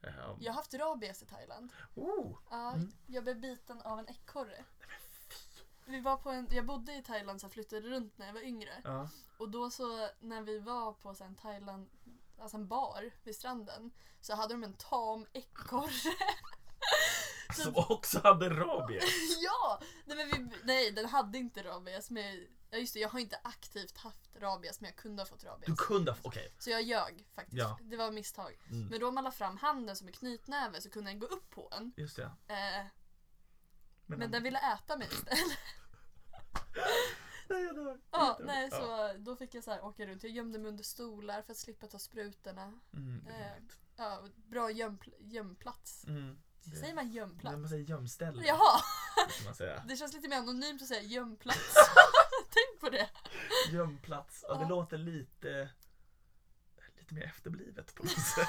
Thailand? Jag har haft rabies i Thailand. Ehm, Oh, Ja, Jag blev biten av en ekorre. Vi var på en, jag bodde i Thailand så jag flyttade runt när jag var yngre. ja. Och då så när vi var på så här en Thailand, alltså en bar vid stranden så hade de en tam ekorre. Som också hade rabies. ja! Nej, men vi, nej den hade inte rabies men ja, just det, jag har inte aktivt haft rabies men jag kunde ha fått rabies. Du kunde ha... Okej. Så jag ljög faktiskt. Ja. Det var misstag. Mm. Men då om man la fram handen som en knytnäve så kunde den gå upp på en. Just det. Eh, Men, men den ville äta mig istället. Nej, jag dör. Ja, Jag dör. nej, så då fick jag så här, åka runt. Jag gömde mig under stolar för att slippa ta sprutorna. Mm, det är Eh, roligt. Ja, bra gömpl- gömplats. mm. Säger man gömplats? Nej, man säger gömställe. Jaha, kan man säga. det känns lite mer anonymt att säga gömplats. Tänk på det. Gömplats. Ja, det Ja. låter lite, lite mer efterblivet på något sätt.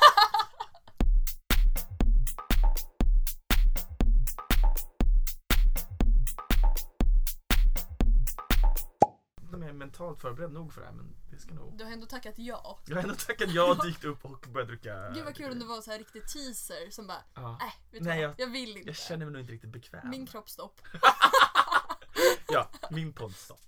Jag är mentalt förberedd nog för det här men det ska nog... Du har ändå tackat ja. Jag har ändå tackat ja, dykt upp och börjat dricka. Gud vad kul om det var en så här riktig teaser som bara, Ja. nej, vet du Nej, vad? jag- Jag vill inte. Jag känner mig nog inte riktigt bekväm. Min kroppsstopp. Ja, min podd stopp.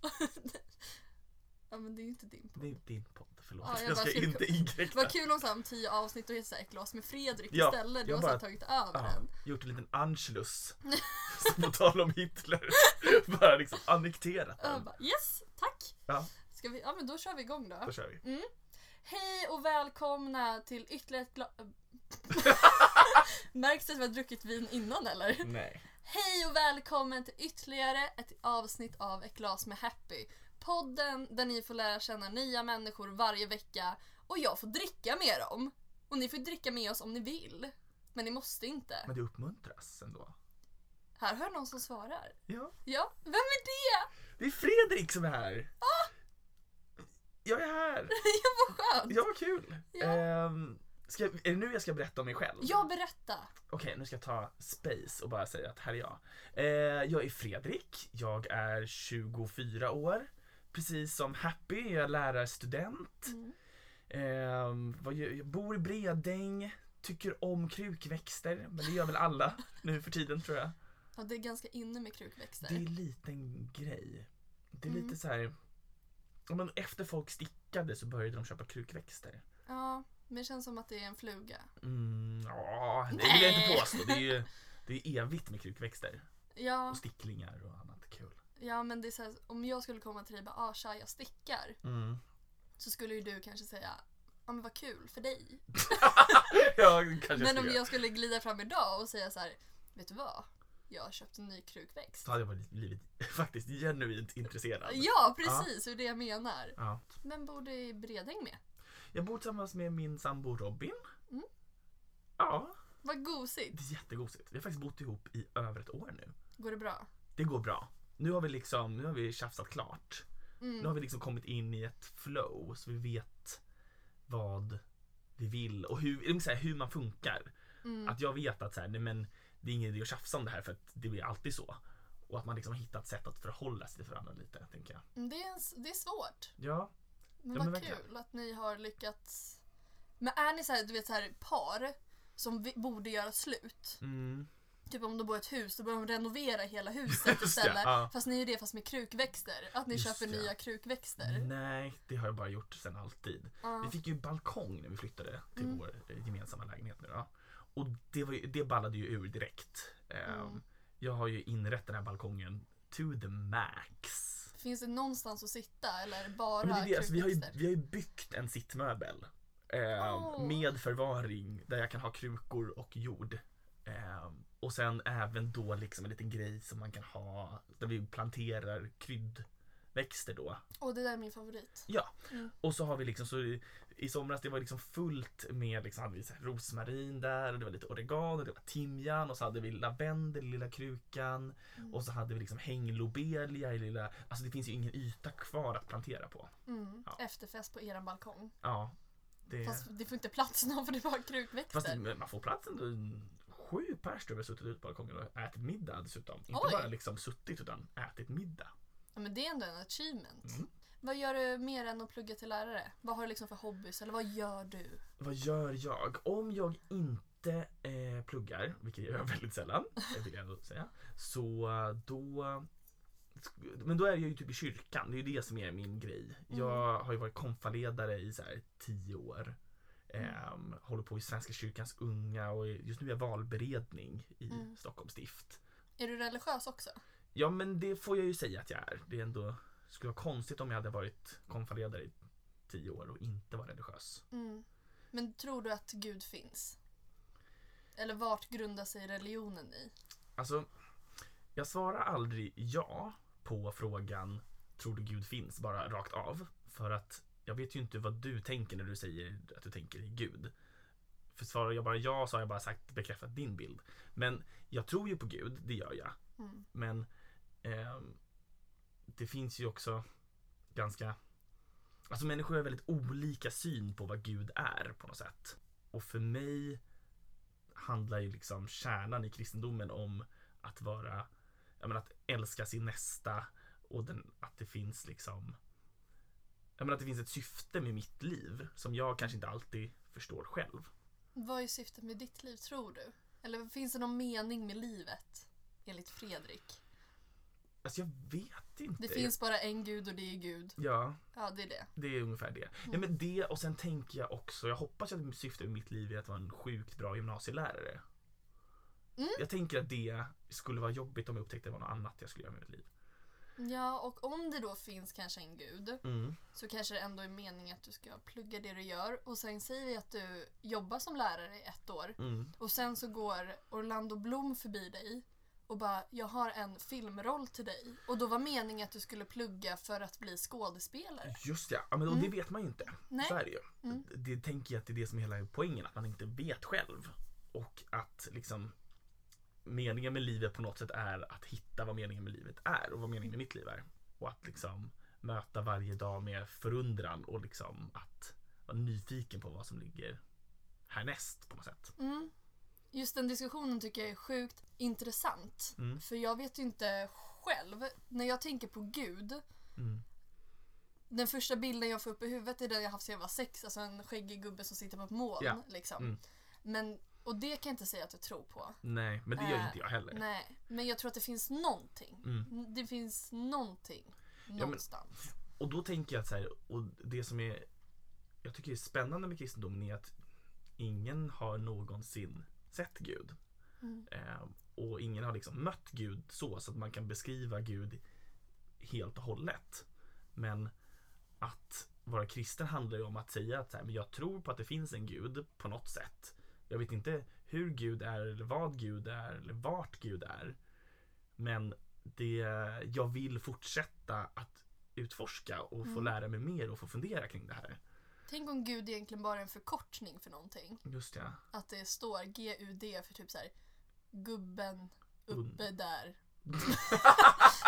Ja men det är ju inte din. Det är din podd, förlåt. Ja, jag jag, bara ska skulle- inte inkräkta. Vad kul om så här, om tio avsnitt och heter så här, ett glas med Fredrik Ja, istället. Du jag har så här, bara- tagit över Ja, den. gjort en liten Anschluss. Som på tal om Hitler. Bara liksom annekterat Och jag den. bara, yes, tack. Ja, Ska vi, ja men då kör vi igång då. då kör vi. Hej och välkomna till ytterligare ett glas... Märks det att vi har druckit vin innan eller? Nej. Hej och välkommen till ytterligare ett avsnitt av Ett glas med Happy. Podden där ni får lära känna nya människor varje vecka och jag får dricka med dem. Och ni får dricka med oss om ni vill. Men ni måste inte. Men det uppmuntras ändå. Här hör någon som svarar. Ja. Ja, vem är det? Det är Fredrik som är här. Jag är här. Ah! Ja, vad skönt! Ja, vad kul. Ja. Ehm, ska, är det nu jag ska berätta om mig själv? Jag berätta. Okej, nu ska jag ta space och bara säga att här är jag. Eh, jag är Fredrik, jag är 24 år. Precis som Happy, jag är lärarstudent. Mm. Eh, vad gör- jag bor i Bredäng, tycker om krukväxter, men det gör väl alla nu för tiden tror jag. Ja, det är ganska inne med krukväxter. Det är en liten grej. Det är Mm. lite så här. ja, Men efter folk stickade så började de köpa krukväxter. Ja, men det känns som att det är en fluga. Mm, ja, det vill jag Nej. inte påstå. Det är ju det är evigt med krukväxter. Ja, Och sticklingar och annat kul. ja men det är så här, om jag skulle komma till dig och bara ah, tja, jag stickar. Mm. Så skulle ju du kanske säga ja men vad kul för dig. Ja, kanske Men om skulle jag skulle glida fram idag och säga så här, vet du vad? Jag har köpt en ny krukväxt. Så hade jag varit- blivit faktiskt genuint intresserad. Ja, precis, det är det jag menar. Ja. Men borde i Bredäng med? Jag bor tillsammans med min sambo Robin. Mm. Ja, Vad gosigt. det är jättegosigt. Vi har faktiskt bott ihop i över ett år nu. Går det bra? Det går bra. Nu har vi liksom, nu har vi tjafsat klart. Nu Mm. har vi liksom kommit in i ett flow så vi vet vad vi vill och hur, eller så här, hur man funkar. Mm. Att jag vet att så här, nej, men det är ingen idé att tjafsa om det här för att det blir alltid så. Och att man liksom har hittat sätt att förhålla sig till varandra lite, tänker jag. mm, Det, är, en- det är svårt. Ja, Men Ja, vad men verkligen. kul att ni har lyckats. Men är ni så här, du vet så här par som vi, borde göra slut? mm. Typ om de bor i ett hus, då börjar de renovera hela huset det, istället. ja. Fast ni gör det fast med krukväxter. Att ni Just köper det. nya krukväxter. Nej, det har jag bara gjort sen alltid. Ja. Vi fick ju balkong när vi flyttade till Mm. vår eh, gemensamma lägenhet nu då. Och det, var ju, det ballade ju ur direkt. Ehm, Mm. Jag har ju inrett den här balkongen to the max. Finns det någonstans att sitta eller är det bara Men det är det, alltså, vi, har ju, krukväxter? vi har ju byggt en sittmöbel eh, Åh. med förvaring där jag kan ha krukor och jord. Eh, och sen även då liksom en liten grej som man kan ha där vi planterar kryddväxter då. Och det där är min favorit. Ja, Mm. och så har vi liksom så i, i somras det var liksom fullt med liksom, hade vi så här rosmarin där och det var lite oregano, och det var timjan och så hade vi lavendel i lilla krukan Mm. och så hade vi liksom hänglobelia i lilla, alltså det finns ju ingen yta kvar att plantera på. Mm. Ja. Efterfest på eran balkong. Ja, det... Fast det får inte plats någon för det är bara krukväxter. Fast det, man får plats ändå en- sju pers tror jag vi har suttit ute på balkongen och ätit middag dessutom. Inte Oj. bara liksom suttit utan ätit middag. Ja, men det är ändå en achievement. Mm. Vad gör du mer än att plugga till lärare? Vad har du liksom för hobbys eller vad gör du? Vad gör jag? Om jag inte inte eh, pluggar, vilket jag gör väldigt sällan, det vill jag ändå säga, så eh, då men då är jag ju typ i kyrkan, det är ju det som är min grej. Jag har ju varit konfaledare i så här tio år. Ehm, håller på i Svenska kyrkans unga och just nu är jag valberedning i Mm. Stockholms stift. Är du religiös också? Ja men det får jag ju säga att jag är. Det är ändå, skulle vara konstigt om jag hade varit konfaledare i tio år och inte var religiös. Mm. Men tror du att Gud finns? Eller vart grundar sig religionen i? Alltså, jag svarar aldrig ja på frågan tror du Gud finns bara rakt av. För att jag vet ju inte vad du tänker när du säger att du tänker i Gud. För svarar jag bara ja så har jag bara sagt bekräftat din bild. Men jag tror ju på Gud, det gör jag. Mm. Men ehm, det finns ju också ganska... Alltså människor har väldigt olika syn på vad Gud är på något sätt. Och för mig handlar ju liksom kärnan i kristendomen om att vara, jag menar att älska sin nästa och den, att det finns liksom, jag menar att det finns ett syfte med mitt liv som jag kanske inte alltid förstår själv. Vad är syftet med ditt liv tror du? Eller finns det någon mening med livet? Enligt Fredrik. Alltså jag vet inte. Det finns bara en gud och det är Gud. Ja, Ja, det är det. Det är ungefär det. Ja, men det och sen tänker jag också, jag hoppas att syftet med mitt liv är att vara en sjukt bra gymnasielärare. Mm. Jag tänker att det skulle vara jobbigt om jag upptäckte att det var något annat jag skulle göra med mitt liv. Ja, och om det då finns kanske en gud Mm. så kanske det ändå är meningen att du ska plugga det du gör och sen säger vi att du jobbar som lärare i ett år Mm. och sen så går Orlando Bloom förbi dig och bara “jag har en filmroll till dig” och då var meningen att du skulle plugga för att bli skådespelare. Just det, ja, men och det vet man ju inte. Nej. Så är det ju. Mm. Det tänker jag att det är det som är hela poängen, att man inte vet själv. Och att liksom meningen med livet på något sätt är att hitta vad meningen med livet är och vad meningen med mitt liv är. Och att liksom möta varje dag med förundran och liksom att vara nyfiken på vad som ligger härnäst på något sätt. Mm. Just den diskussionen tycker jag är sjukt intressant. Mm. För jag vet ju inte själv, när jag tänker på Gud, Mm. den första bilden jag får upp i huvudet är den jag haft sedan jag var sex, alltså en skäggig gubbe som sitter på ett moln. Ja. Liksom. Mm. Men, och det kan jag inte säga att jag tror på. Nej, men det gör ju Äh, inte jag heller. Nej, men jag tror att det finns någonting. Mm. N- Det finns någonting. Någonstans. Och då tänker jag att så här, och det som är jag tycker är spännande med kristendomen är att ingen har någonsin sett Gud. Mm. Eh, och ingen har liksom mött Gud så, så att man kan beskriva Gud helt och hållet. Men att vara kristen handlar ju om att säga att så här, men jag tror på att det finns en Gud på något sätt. Jag vet inte hur Gud är eller vad Gud är eller vart Gud är. Men det, jag vill fortsätta att utforska och få Mm. lära mig mer och få fundera kring det här. Tänk om Gud egentligen bara är en förkortning för någonting. Just ja. Att det står GUD för typ så här gubben uppe där.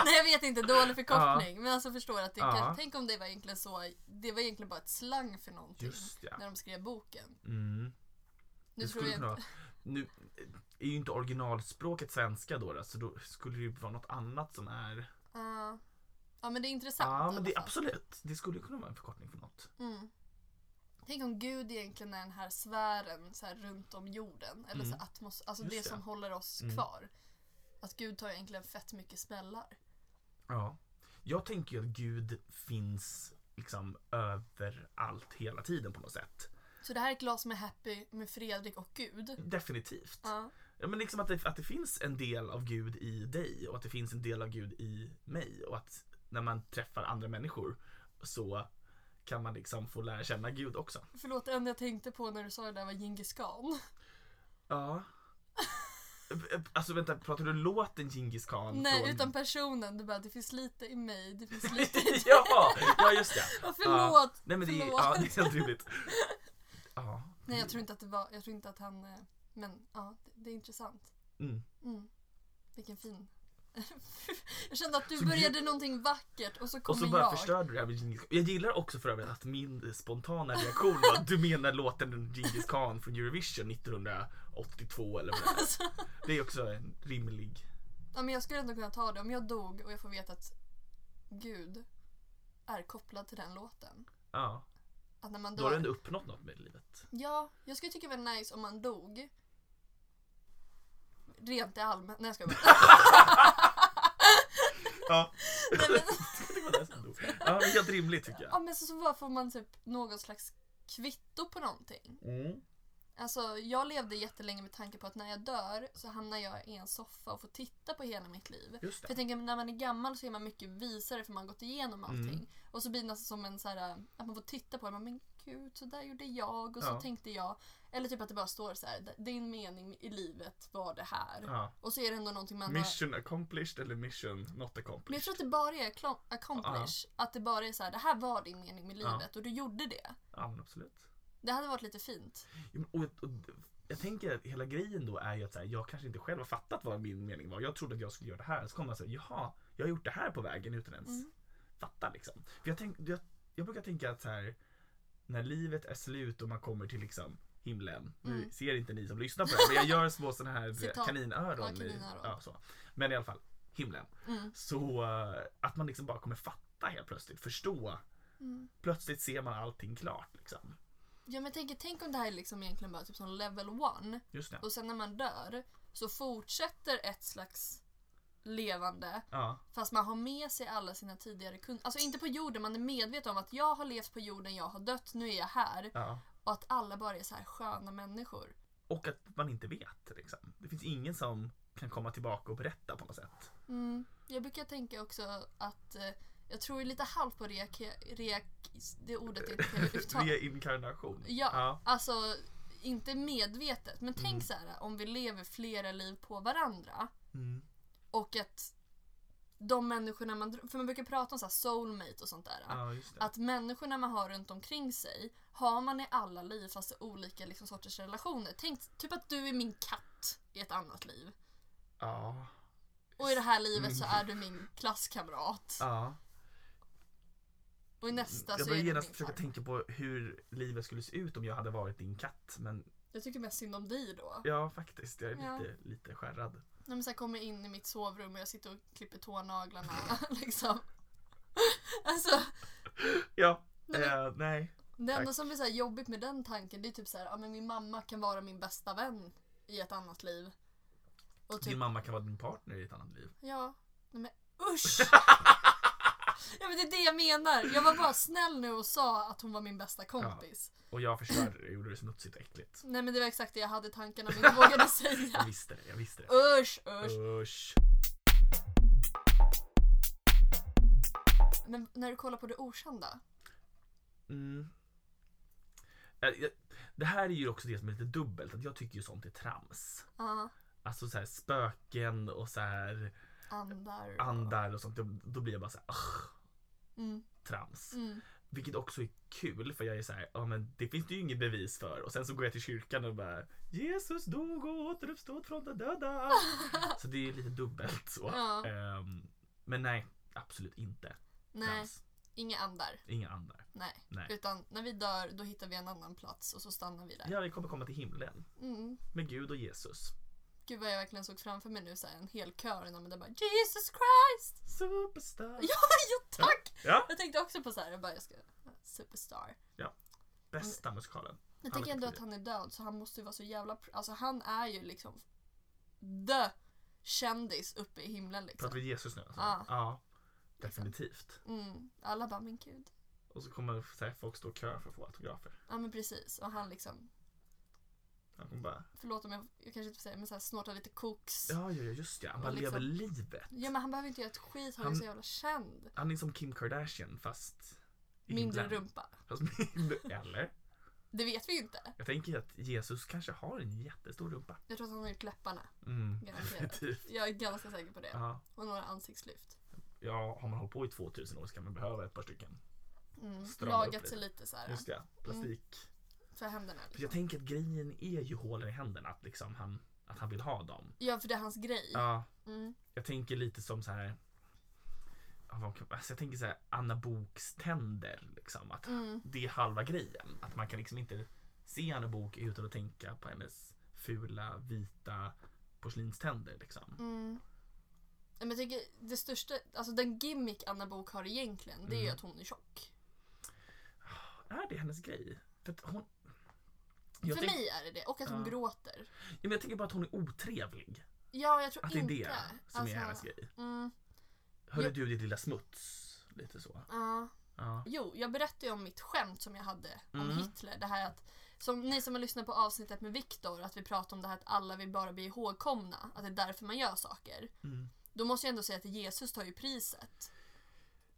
Nej jag vet inte, dålig förkortning. Men alltså förstår att det Ja. kan, tänk om det var egentligen så, det var egentligen bara ett slang för någonting. Just ja. När de skrev boken. Mm. Nu det tror skulle jag kunna inte. vara- Nu eh, är ju inte originalspråket svenska då, då, så då skulle det ju vara något annat som är... Ja. ja men det är intressant. Ja, i men alla det, fall. absolut. Det skulle kunna vara en förkortning för något. Mm. Tänk om Gud egentligen är den här sfären så här, runt om jorden. Eller så Mm. atmos- alltså Just det det. som håller oss Mm. kvar. Att Gud tar egentligen fett mycket smällar. Ja. Jag tänker ju att Gud finns liksom överallt hela tiden på något sätt. Så det här är ett glas med Happy med Fredrik och Gud. Definitivt. Ja. Ja, men liksom att det, att det finns en del av Gud i dig och att det finns en del av Gud i mig och att när man träffar andra människor så kan man liksom få lära känna Gud också. Förlåt, det enda jag tänkte på när du sa det där var Djingis khan. Ja. Alltså vänta, pratar du låten Djingis khan? Nej, från- utan personen. Du bara, det finns lite i mig, det finns lite i dig. ja, ja, just det. Ja, förlåt! Nej men det är, förlåt. ja, det är helt rimligt. Ja. Nej, jag tror inte att det var, jag tror inte att han, eh, men ja, det, det är intressant. Mm. Mm. Vilken fin. jag kände att du Så började någonting vackert och så Och kommer så bara jag. förstörde du det här med Djingis Jag gillar också för övrigt att min spontana reaktion var att du menar låten Djingis khan från Eurovision 1982 eller vad det är. Alltså, Det är också en rimlig... ja, men jag skulle ändå kunna ta det om jag dog och jag får veta att Gud är kopplad till den låten. Ja. Att när man Då har dör. du ändå uppnått något med livet. Ja, jag skulle tycka det var nice om man dog rent i allmänt. Nej jag skojar bara. Ja. Nej, men, Det var det som dog. ja, men helt rimligt tycker ja, jag. men så, så bara får man typ någon slags kvitto på någonting. Mm. Alltså jag levde jättelänge med tanke på att när jag dör så hamnar jag i en soffa och får titta på hela mitt liv. Just För det. jag tänker när man är gammal så är man mycket visare för man har gått igenom allting. Mm. Och så blir det nästan som en så här, att man får titta på det. Man, men gud, så där gjorde jag och så Ja. tänkte jag. Eller typ att det bara står så här, din mening i livet var det här. Ja. Och så är det ändå någonting man har... Mission accomplished eller mission not Men jag accomplished? tror att det bara är klo- accomplish. Att det bara är så här, det här var din mening med Ja. livet och du gjorde det. Ja, men absolut. Det hade varit lite fint. Jo, men- Och, och, jag tänker att hela grejen då är ju att så här, jag kanske inte själv har fattat vad min mening var. Jag trodde att jag skulle göra det här. Så kommer man säga, jaha, jag har gjort det här på vägen utan ens Mm. fatta liksom. För jag, tänk, jag, jag brukar tänka att så här, när livet är slut och man kommer till liksom himlen. Nu Mm. ser inte ni som lyssnar på det här, men jag gör små sådana här du vet, Citat. kaninöron. Ja, i- kaninöron. Ja, så. Men i alla fall, himlen. Mm. Så eh, att man liksom bara kommer fatta helt plötsligt, förstå. Mm. Plötsligt ser man allting klart liksom. Ja men jag tänker, tänk om det här är liksom egentligen bara typ som level one. Just det. Och sen när man dör så fortsätter ett slags levande Ja, fast man har med sig alla sina tidigare kunder. Alltså inte på jorden, man är medveten om att jag har levt på jorden, jag har dött, nu är jag här. ja. Och att alla bara är så här sköna människor. Och att man inte vet. Liksom. Det finns ingen som kan komma tillbaka och berätta på något sätt. Mm. Jag brukar tänka också att eh, jag tror ju lite halvt på reak... reak det ordet jag inte kan uttala. Reinkarnation. Ja, ja. Alltså inte medvetet, men tänk Mm. så här om vi lever flera liv på varandra. Mm. Och att de människorna man... dr- För man brukar prata om så här soulmate och sånt där. ja just det. Att människorna man har runt omkring sig har man i alla liv fast i olika liksom, sorters relationer. Tänk typ att du är min katt i ett annat liv. Ja. Och i det här livet Mm. så är du min klasskamrat. ja. Och i nästa jag så är började du min genast försöka farfar. tänka på hur livet skulle se ut om jag hade varit din katt. Men Jag tycker mest synd om dig då. ja, faktiskt. Jag är Ja. lite, lite skärrad. När man så här kommer in i mitt sovrum och jag sitter och klipper tånaglarna. liksom. alltså, Ja, Nej, men- eh, nej. det enda Tack. som är så här jobbigt med den tanken det är typ så här, ja men min mamma kan vara min bästa vän i ett annat liv. Och typ Din mamma kan vara din partner i ett annat liv. Ja, nej men usch! ja men det är det jag menar. Jag var bara snäll nu och sa att hon var min bästa kompis. Och jag förstörde det, gjorde det smutsigt och äckligt. Nej men det var exakt det jag hade i tankarna men jag vågade Jag säga. visste det, jag visste det. Usch, usch. Usch. Men när du kollar på det okända. Mm. Eh, jag- Det här är ju också det som är lite dubbelt, att jag tycker ju sånt är trams. Ja, Alltså så här spöken och så här andar. andar och sånt. Då, då blir jag bara så här, "Ugh, Mm, trams. mm. Vilket också är kul för jag är så här, ja men det finns det ju inget bevis för. Och sen så går jag till kyrkan och bara, Jesus dog och återuppstod från de döda. så det är ju lite dubbelt så. Ja. Ehm, men nej, absolut inte. Nej, Trams. inga andar. Inga andar. Nej. Nej. Utan när vi dör då hittar vi en annan plats och så stannar vi där. Ja, vi kommer komma till himlen Mm. med Gud och Jesus. Gud vad jag verkligen såg framför mig nu så här, en hel kör innan men det bara Jesus Christ! Superstar. Ja, ja tack! Ja. Jag tänkte också på så här, jag bara jag ska, superstar. Bästa musikalen. Jag Han tänker är ändå att kultur. han är död så han måste ju vara så jävla, pr- alltså han är ju liksom the kändis uppe i himlen Pratar liksom. vi Jesus nu? Alltså. Ja. ja. Definitivt. Mm, alla bara men gud. Och så kommer så här, folk stå i kö för att få autografer. Ja men precis och han liksom, Han kommer bara, förlåt om jag, jag kanske inte får säga men så här, snortar lite koks. Ja. ja, ja, ja just det. Han bara Och liksom- lever livet. men han behöver inte göra ett skit, han är Han- så jävla känd. Han är som Kim Kardashian fast i Mindre himlen. rumpa. Fast mindre. Eller? Det vet vi ju inte. Jag tänker att Jesus kanske har en jättestor rumpa. Jag tror att han har gjort läpparna, Mm. garanterat. Definitivt. Jag är ganska säker på det. Ja. Och några ansiktslyft. ja, har man hållit på i 2000 år så kan man behöva ett par stycken. Mm. Strama upp Lagat sig lite. lite så här Just det, plastik. för händerna. För jag tänker att grejen är ju hålen i händerna, att, liksom han, att han vill ha dem. Ja för det är hans grej. Ja, Mm. jag tänker lite som så här. ja, vad kan- Alltså jag tänker så här Anna Boks tänder. Liksom, att Mm. det är halva grejen. Att man kan liksom inte se Anna Bok utan att tänka på hennes fula vita porslinständer. Liksom. Mm. Men jag tycker det största, alltså den gimmick Anna Bok har egentligen det är ju Mm. att hon är tjock. Är det hennes grej? För, att hon... För jag, tänk... mig är det det och att hon Ja. gråter. Ja, men jag tänker bara att hon är otrevlig. Ja, jag tror Att det är inte. det som Alltså, är hennes grej. Mm, Hörru Jo. du ditt lilla smuts. Lite så. ja. Ja. Jo, jag berättade ju om mitt skämt som jag hade om Mm. Hitler. Det här att, som ni som har lyssnat på avsnittet med Viktor, att vi pratade om det här att alla vill bara bli ihågkomna. Att det är därför man gör saker. Mm. Då måste jag ändå säga att Jesus tar ju priset.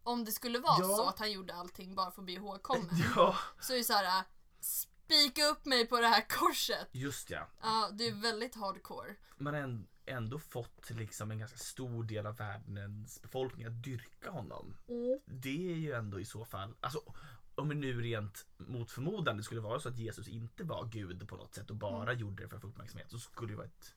Om det skulle vara Ja. så att han gjorde allting bara för att bli ihågkommen. ja, Så är det så här, spika upp mig på det här korset. just ja. Ja, det är väldigt hardcore. Man har än- ändå fått liksom en ganska stor del av världens befolkning att dyrka honom. Det är ju ändå i så fall, alltså om det nu rent mot förmodan det skulle vara så att Jesus inte var gud på något sätt och bara gjorde det för att få uppmärksamhet så skulle det vara ett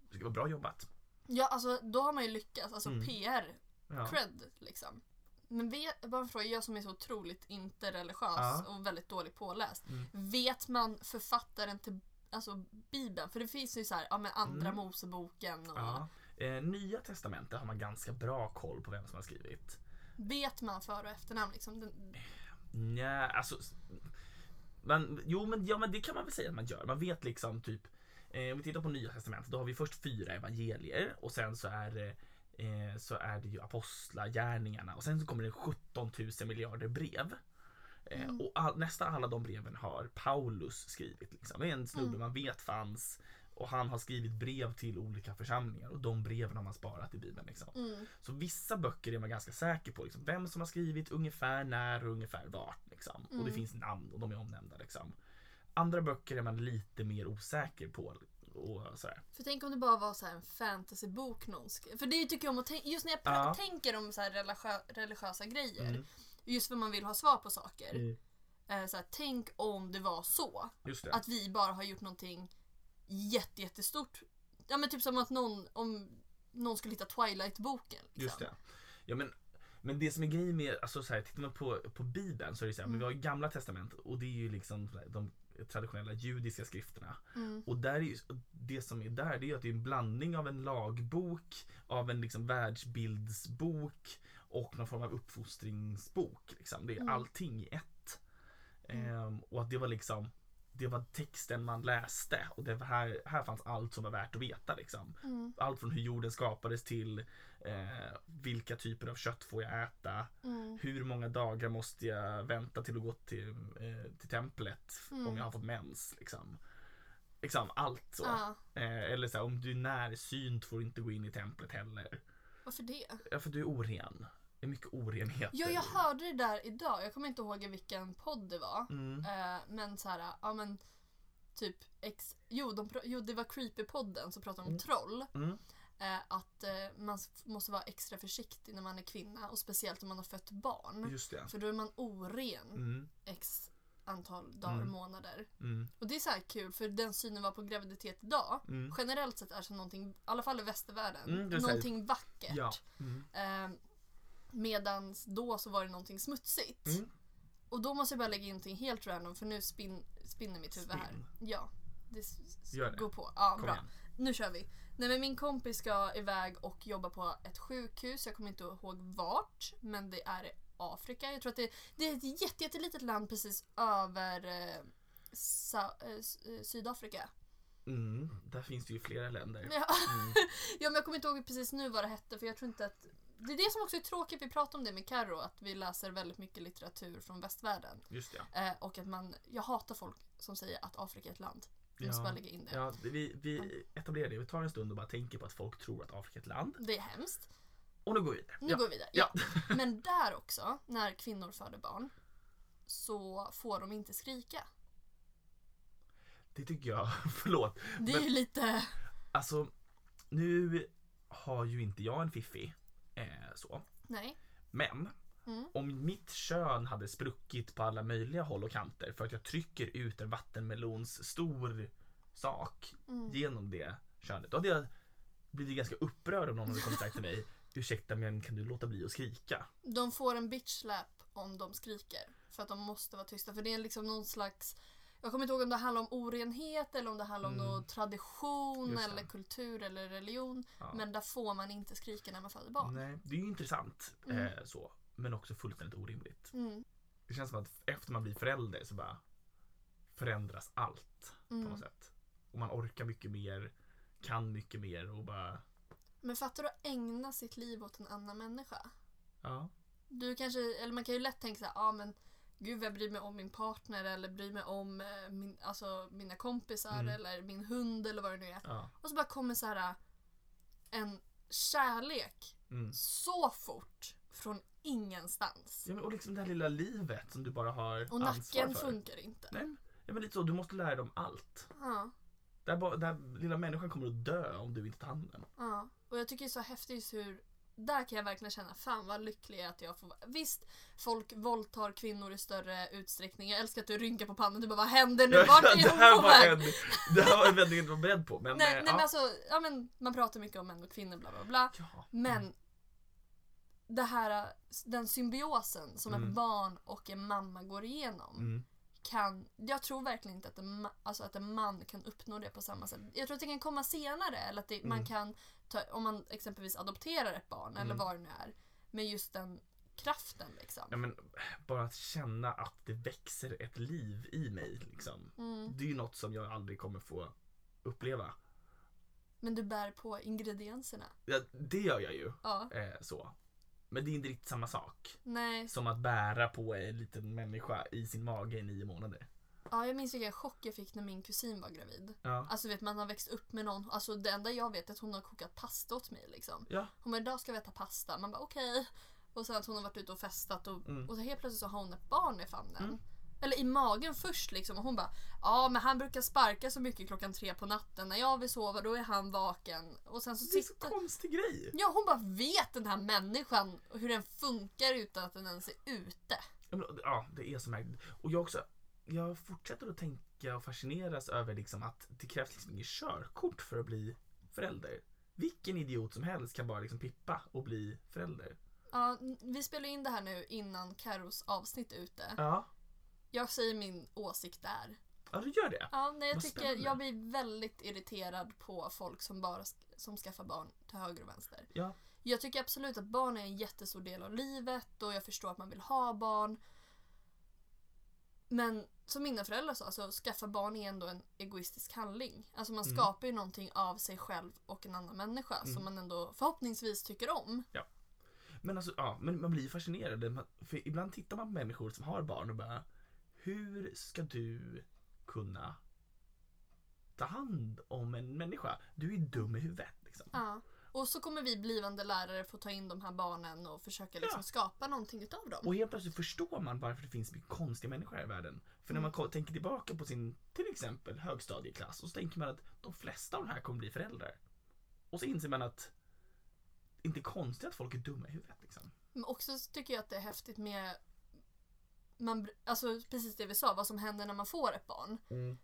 det skulle vara bra jobbat. Ja, alltså då har man ju lyckats. Alltså Mm. PR, Ja. cred liksom. Men vet, bara en fråga, jag som är så otroligt inte religiös Ja. och väldigt dåligt påläst. Mm. Vet man författaren till alltså, Bibeln? För det finns ju så här, ja men andra Mm. Moseboken och... Ja. Eh, Nya testamentet har man ganska bra koll på vem som har skrivit. Vet man för och efternamn liksom? Den, Mm. Nja, alltså. s- Man, jo, men, ja, men det kan man väl säga att man gör. Man vet liksom typ. Eh, om vi tittar på Nya Testamentet, då har vi först fyra evangelier och sen så är det eh, så är det ju apostlagärningarna och sen så kommer det 17 000 miljarder brev. Eh, Och all, nästan alla de breven har Paulus skrivit. Liksom. Det är en snubbe man vet fanns och han har skrivit brev till olika församlingar och de breven har man sparat i Bibeln. Liksom. mm, Så vissa böcker är man ganska säker på liksom, vem som har skrivit, ungefär när och ungefär vart. Liksom. Och det Mm. finns namn och de är omnämnda. Liksom. Andra böcker är man lite mer osäker på. Och sådär. för tänk om det bara var så här en fantasybok någon skrev. För det tycker jag om att tänka, just när jag pra- Ja. tänker om så här religiö- religiösa grejer. Mm. Just för man vill ha svar på saker. Mm. Eh, så här, tänk om det var så. Just det. att vi bara har gjort någonting jätte, jättestort. Ja men typ som att någon, om någon skulle hitta Twilight-boken. Liksom. Just det. Ja, men, men det som är grejen med, alltså, så här, tittar man på, på Bibeln så är det så här, men Mm. vi har ju gamla testament och det är ju liksom så här, de traditionella judiska skrifterna. Mm. Och där är ju, och det som är där det är ju att det är en blandning av en lagbok, av en liksom världsbildsbok och någon form av uppfostringsbok. Liksom. Det är Mm. allting i ett. Ehm, och att det var liksom det var texten man läste och det var här, här fanns allt som var värt att veta. Liksom. Mm, Allt från hur jorden skapades till eh, vilka typer av kött får jag äta, mm, hur många dagar måste jag vänta till att gå till, eh, till templet Mm. om jag har fått mens. Liksom, liksom allt så. Ja, Eh, eller så här, om du är närsynt får du inte gå in i templet heller. varför det? Ja, för du är oren. Det är mycket orenheter. Ja, jag hörde det där idag. Jag kommer inte ihåg i vilken podd det var. Mm. Eh, men så här, ja men typ ex... Jo, de, pra- jo det var Creepy-podden som pratade om troll. Mm. Eh, att eh, man s- måste vara extra försiktig när man är kvinna och speciellt om man har fött barn. Just det. För då är man oren Mm. x antal dagar, Mm. månader. Mm. Och det är så här kul för den synen var på graviditet idag Mm. generellt sett är som någonting, i alla fall i västervärlden, Mm, det är så här- någonting vackert. Ja. Mm. Eh, medans då så var det någonting smutsigt. Mm. Och då måste jag bara lägga in någonting helt random för nu spin, spinner mitt huvud här. Spinn. Ja, det, s- s- Gör det. går på. Ja, Kom bra. igen. Nu kör vi. Nej men min kompis ska iväg och jobba på ett sjukhus. Jag kommer inte ihåg vart, men det är i Afrika. Jag tror att det, det är ett jätte, jättelitet land precis över eh, Sa, eh, S- eh, Sydafrika. Mm. Där finns det ju flera länder. Mm, Men jag, ja, men jag kommer inte ihåg precis nu vad det hette för jag tror inte att det är det som också är tråkigt, vi pratar om det med Karo att vi läser väldigt mycket litteratur från västvärlden. Just det. Eh, och att man, jag hatar folk som säger att Afrika är ett land. Vi måste Ja. bara lägga in det. Ja, vi, vi etablerar det. Vi tar en stund och bara tänker på att folk tror att Afrika är ett land. Det är hemskt. Och nu går vi vidare. Nu ja. går vi vidare. Ja. Men där också, när kvinnor föder barn, så får de inte skrika. Det tycker jag, förlåt. Det är Men- ju lite... Alltså, nu har ju inte jag en fiffi. Eh, så. Nej. Men Mm. om mitt kön hade spruckit på alla möjliga håll och kanter för att jag trycker ut en vattenmelons stor sak Mm. genom det könet. Då hade jag blivit ganska upprörd om någon hade kommit och sagt till mig Ursäkta men kan du låta bli att skrika? De får en bitch slap om de skriker. För att de måste vara tysta. För det är liksom någon slags... Jag kommer inte ihåg om det handlar om orenhet eller om det handlar om Mm. någon tradition Just det. eller kultur eller religion. Ja. Men där får man inte skrika när man föder barn. Nej, det är ju intressant eh, så. Men också fullständigt orimligt. Mm. Det känns som att efter man blir förälder så bara förändras allt på Mm. något sätt. Och man orkar mycket mer kan mycket mer och bara, Men fattar du att ägna sitt liv åt en annan människa? ja. Du kanske, eller man kan ju lätt tänka så här, ja ah, men gud jag bryr mig om min partner eller bryr mig om eh, min, alltså, mina kompisar Mm. eller min hund eller vad det nu är. ja. Och så bara kommer så här eh, en kärlek Mm. så fort från ingenstans. Ja, men, och liksom det här lilla livet som du bara har ansvar Och nacken för. funkar inte. Alltså, Nej, men- ja, men lite så, du måste lära dem allt. Ja, Den här, lilla människan kommer att dö om du inte tar hand om den. ja. Och jag tycker det är så häftigt hur där kan jag verkligen känna, fan vad lycklig jag är att jag får vara. Visst, folk våldtar kvinnor i större utsträckning. Jag älskar att du rynkar på pannan, du bara vad händer nu? Vart är det, här jag på väg? var en, det här var en vändning jag inte var beredd på. Men, Nej, eh, nej men alltså, ja, men man pratar mycket om män och kvinnor bla bla bla. ja. Men det här, den symbiosen som ett Mm. barn och en mamma går igenom. Mm. Kan, jag tror verkligen inte att en, ma- alltså att en man kan uppnå det på samma sätt. Jag tror att det kan komma senare. Eller att det, man Mm. kan ta, om man exempelvis adopterar ett barn eller Mm. vad det nu är. Med just den kraften liksom. Ja, men, bara att känna att det växer ett liv i mig. Liksom. Mm. Det är ju något som jag aldrig kommer få uppleva. Men du bär på ingredienserna. Ja, det gör jag ju. Ja. Eh, så. Men det är inte riktigt samma sak Nej. som att bära på en liten människa i sin mage i nio månader. Ja, jag minns vilken chock jag fick när min kusin var gravid. Ja. Alltså vet man har växt upp med någon, alltså det enda jag vet är att hon har kokat pasta åt mig liksom. Ja. Hon bara idag ska vi äta pasta, man bara okej. Och sen att hon har varit ute och festat och, Mm. och så helt plötsligt så har hon ett barn i famnen. Mm. Eller i magen först liksom och hon bara ja men han brukar sparka så mycket klockan tre på natten, när jag vill sova då är han vaken. Och sen så Det är så sitter... konstig grej. Ja hon bara vet den här människan och hur den funkar utan att den ens är ute. Ja, men, ja, det är så märkligt. Och jag också, jag fortsätter att tänka och fascineras över liksom att det krävs liksom inget körkort för att bli förälder. Vilken idiot som helst kan bara liksom pippa och bli förälder. Ja, n- vi spelar in det här nu innan Carros avsnitt är ute. Ja, Jag säger min åsikt där. ja du gör det. Ja, nej, jag Vad tycker spännande. jag blir väldigt irriterad på folk som bara sk- som skaffar barn till höger och vänster. Ja. Jag tycker absolut att barn är en jättestor del av livet och jag förstår att man vill ha barn. Men som mina föräldrar sa, så skaffa barn är ändå en egoistisk handling. Alltså man Mm. skapar ju någonting av sig själv och en annan människa som Mm. man ändå förhoppningsvis tycker om. Men alltså, ja, men man blir fascinerad. Man- För ibland tittar man på människor som har barn och bara, hur ska du kunna ta hand om en människa? Du är dum i huvudet. Liksom. Ja. Och så kommer vi blivande lärare få ta in de här barnen och försöka liksom Ja. skapa någonting utav dem. Och helt plötsligt förstår man varför det finns mycket konstiga människor här i världen. För Mm. när man ko- tänker tillbaka på sin till exempel högstadieklass och så tänker man att de flesta av de här kommer bli föräldrar. Och så inser man att det inte är konstigt att folk är dumma i huvudet. Liksom. Men också så tycker jag att det är häftigt med man, br- alltså precis det vi sa, vad som händer när man får ett barn.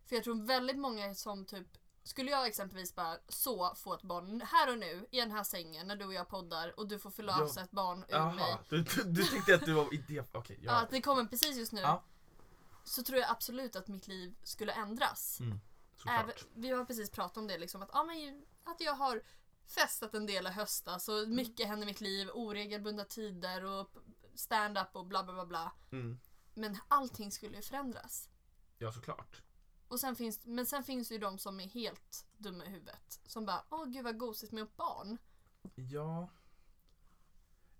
För jag tror väldigt många som typ skulle jag exempelvis bara så få ett barn här och nu i den här sängen när du och jag poddar och du får förlösa Ja. ett barn ur mig. Jaha, du, du, du tyckte att du var idé... Okej, Ja. ja. att det kommer precis just nu. Ja. Så tror jag absolut att mitt liv skulle ändras. Även, Mm, Såklart. vi har precis pratat om det, liksom, att, ja, men, ju- att jag har festat en del i höstas Mm. och mycket hände i mitt liv, oregelbundna tider och p- stand-up och bla bla bla. bla. Mm. Men allting skulle ju förändras. Ja, såklart. Och sen finns, men sen finns det ju de som är helt dumma i huvudet. Som bara, åh gud vad gosigt med ett barn. Ja.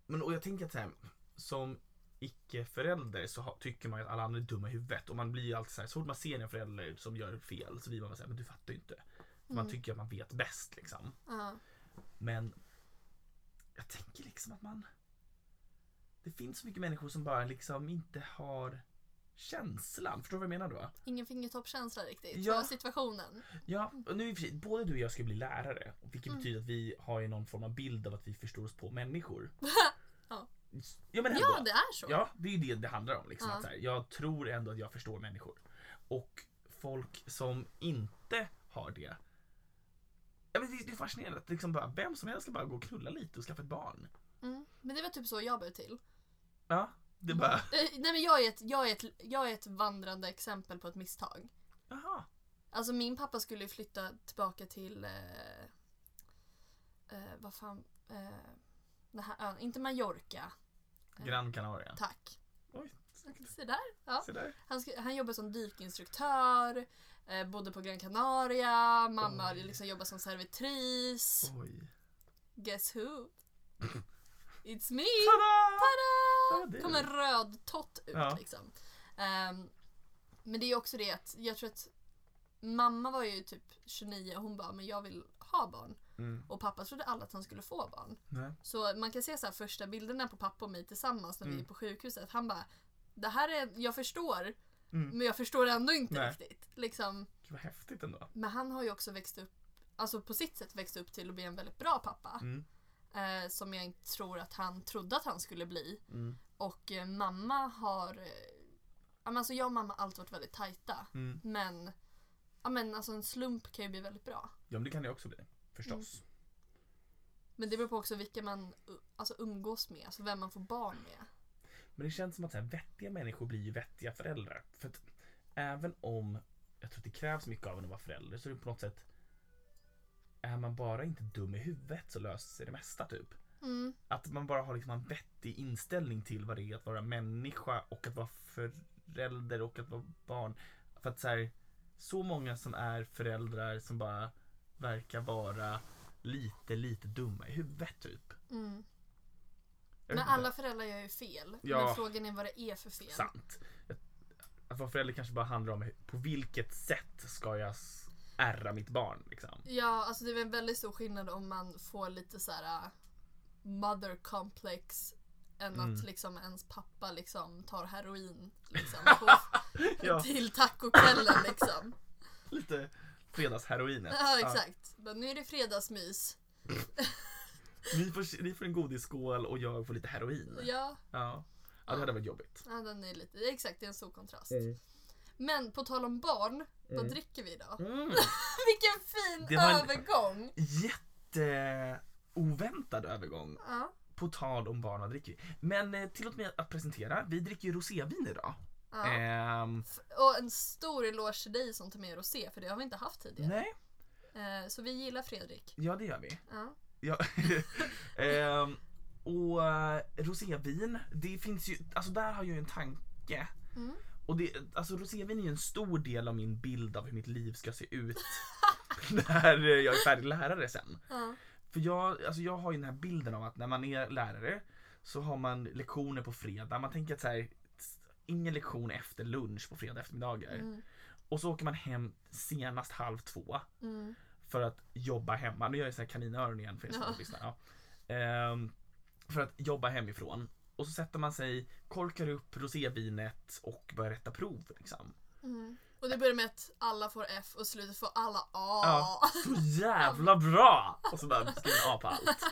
Men och jag tänker att så här, som icke-förälder så ha, tycker man ju att alla andra är dumma i huvudet. Och man blir ju alltid så här, så fort man ser en förälder som gör fel så blir man såhär, men du fattar ju inte. För Man Mm. tycker att man vet bäst liksom. Ja. Men jag tänker liksom att man... Det finns så mycket människor som bara liksom inte har känslan. Förstår du vad jag menar då? Ingen fingertoppkänsla riktigt Ja. för situationen. Ja, och nu i och för sig, både du och jag ska bli lärare. Vilket Mm. betyder att vi har ju någon form av bild av att vi förstår oss på människor. Ja. ja men ändå. Ja, det är så. Ja, det är ju det det handlar om. Liksom, Ja. att så här, jag tror ändå att jag förstår människor. Och folk som inte har det. Ja, men det, det är fascinerande att liksom bara, vem som helst ska bara gå och knulla lite och skaffa ett barn. Mm. Men det var typ så jag blev till. Ja, det är bara, Eh, Nej men jag är, ett, jag, är ett, jag är ett vandrande exempel på ett misstag. jaha. Alltså min pappa skulle ju flytta tillbaka till, eh, eh, vad fan, eh, den här ön, inte Mallorca, Gran Canaria. tack. Oj, Se där. Ja. Se där. Han, sk- han jobbar som dykinstruktör, eh, bodde på Gran Canaria, mamma Oj. liksom jobbar som servitris. Oj. Guess who? It's me! Tada! Ja, det Tada! är Kom en röd tott ut Ja. liksom. Ehm, men det är också det att jag tror att mamma var ju typ 29 och hon bara, men jag vill ha barn. Mm. Och pappa trodde alla att han skulle få barn. Nej. Så man kan se så här första bilderna på pappa och mig tillsammans när vi Mm. är på sjukhuset. Han bara, det här är, jag förstår, Mm. men jag förstår ändå inte Nej. riktigt. Liksom. Gud, vad häftigt ändå. Men han har ju också växt upp, alltså på sitt sätt växt upp till att bli en väldigt bra pappa Mm. eh, som jag inte tror att han trodde att han skulle bli. Mm. Och eh, mamma har... Eh, ja, men alltså jag och mamma har alltid varit väldigt tajta. Mm. Men, ja, men alltså en slump kan ju bli väldigt bra. Ja, men det kan det också bli. Förstås. Men det beror på också vilka man uh, alltså, umgås med, alltså vem man får barn med. Men det känns som att så här, vettiga människor blir ju vettiga föräldrar. För att även om jag tror att det krävs mycket av en att vara förälder så är det på något sätt är man bara inte dum i huvudet så löser sig det mesta typ. Mm. Att man bara har liksom en vettig inställning till vad det är att vara människa och att vara förälder och att vara barn. För att så, här, så många som är föräldrar som bara verkar vara lite, lite dumma i huvudet typ. Mm. Jag Men vet alla föräldrar gör ju fel. Ja. Men frågan är vad det är för fel. Sant. Att vara förälder kanske bara handlar om hur- på vilket sätt ska jag s- ärra mitt barn. Liksom. Ja, alltså det är väl en väldigt stor skillnad om man får lite så här äh, mother complex än att Mm. liksom ens pappa liksom tar heroin liksom, på, Ja, till tacokvällen liksom. lite fredagsheroinet. Ja, exakt. Men nu är det fredagsmys. Ja, ni, får, ni får en godisskål och jag får lite heroin. Ja, Ja, ja. det hade varit jobbigt. ja, den är lite, exakt, det är en stor kontrast. Mm. Men på tal om barn, vad dricker vi idag? Mm. Vilken fin Det var en- övergång! Jätteoväntad övergång. Ja, På tal om barn, vad dricker vi? Men eh, tillåt mig att presentera. Vi dricker ju rosévin idag. ja. Ehm, Och en stor eloge till dig som tar med rosé, för det har vi inte haft tidigare. nej, Eh, Så vi gillar Fredrik. ja det gör vi. Ja. Ja. Ehm, och eh, rosévin, det finns ju, alltså där har jag ju en tanke. Mm. Och det, alltså rosévin är ju en stor del av min bild av hur mitt liv ska se ut när eh, jag är färdig lärare sen. Ja. För jag, alltså jag har ju den här bilden av att när man är lärare så har man lektioner på fredag. Man tänker att så här, ingen lektion efter lunch på fredag eftermiddagar. Mm. Och så åker man hem senast halv två Mm. för att jobba hemma. Nu gör jag så här kaninöron igen för er som Ja. lyssnar. Ja. Ehm, för att jobba hemifrån. Och så sätter man sig, korkar upp rosévinet och börjar rätta prov. Liksom. Mm. Och det börjar med att alla får F och slutet får alla A. Ja. Så jävla bra! Och så bara skriver man A på allt.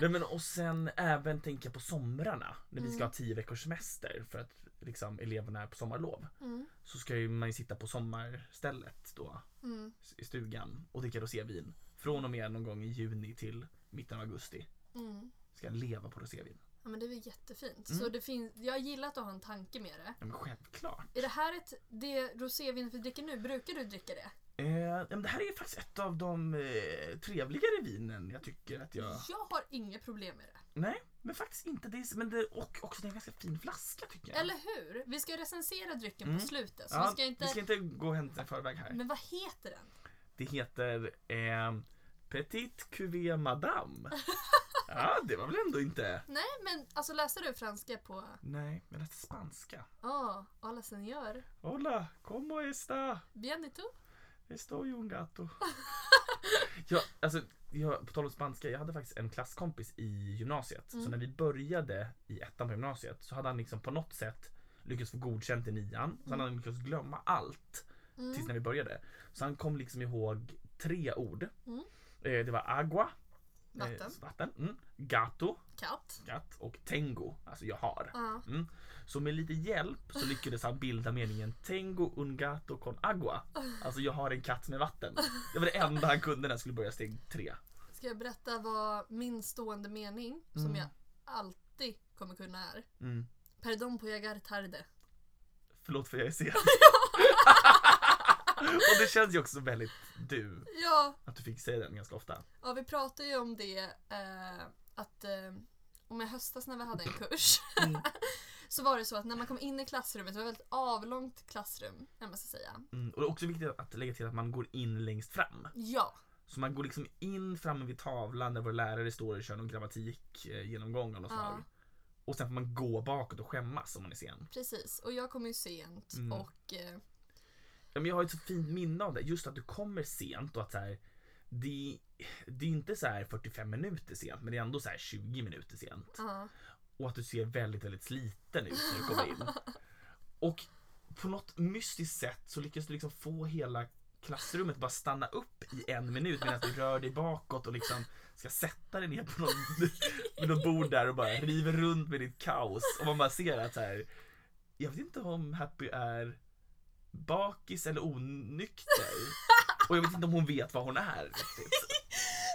Nej, men, och sen även tänka på somrarna när vi ska ha tio veckors semester för att liksom, eleverna är på sommarlov. Mm. Så ska ju man ju sitta på sommarstället då Mm. i stugan och dricka rosévin. Från och med någon gång i juni till mitten av augusti. Mm. ska leva på rosévin. Ja men det är väl jättefint. Mm. Så det finns, jag gillar att du har en tanke med det. Ja, men självklart. Är det här ett, det rosévinet vi dricker nu, brukar du dricka det? Eh, ja, men det här är faktiskt ett av de eh, trevligare vinen jag tycker att jag... Jag har inga problem med det. Nej, men faktiskt inte. Det är, men det, och också det är en ganska fin flaska tycker jag. Eller hur? Vi ska recensera drycken på Mm. slutet. Så ja, vi ska inte... vi ska inte gå händelserna i förväg här. Men vad heter den? Det heter eh, Petit Cuvée Madame. ja, det var väl ändå inte... Nej men alltså läste du franska på... Nej, men det är spanska. Ah, hola señor. Hola, como esta? Bienito. Estoy un gato. jag, alltså, jag, på tal om spanska, jag hade faktiskt en klasskompis i gymnasiet. Så Mm. när vi började i ettan på gymnasiet så hade han liksom på något sätt lyckats få godkänt i nian. Så han hade lyckats glömma allt tills Mm. när vi började. Så han kom liksom ihåg tre ord. Mm. Eh, det var agua, Vatten. Eh, vatten mm, gato, Katt. gatt, och tengo, alltså jag har. Ja. Mm. Så med lite hjälp så lyckades han bilda meningen Tengo un gato con agua. Alltså jag har en katt med vatten. Det var det enda han kunde när han skulle börja steg tre. Ska jag berätta vad min stående mening, som Mm. jag alltid kommer kunna är? Mm. Perdón på llegar tarde. Förlåt för jag är sen. Och det känns ju också väldigt du Ja, att du fick säga den ganska ofta. ja vi pratade ju om det eh, att eh, om i höstas när vi hade en kurs Mm. så var det så att när man kom in i klassrummet, det var ett väldigt avlångt klassrum, jag måste säga. Mm. Och det är också viktigt att lägga till att man går in längst fram. Ja, Så man går liksom in framme vid tavlan där vår lärare står och kör någon grammatikgenomgång av något Ja. slag. Och sen får man gå bakåt och skämmas om man är sen. precis. Och jag kom ju sent Mm. och eh, Ja, men jag har ett så fint minne av det, just att du kommer sent och att så här, det, det är inte så här 45 minuter sent men det är ändå så här 20 minuter sent. ja. och att du ser väldigt, väldigt sliten ut när du kommer in. Och på något mystiskt sätt så lyckas du liksom få hela klassrummet bara stanna upp i en minut medan du rör dig bakåt och liksom ska sätta dig ner på någon, på något bord där och bara river runt med ditt kaos. Och man bara ser att så här, jag vet inte om Happy är bakis eller onykter. Och jag vet inte om hon vet vad hon är riktigt.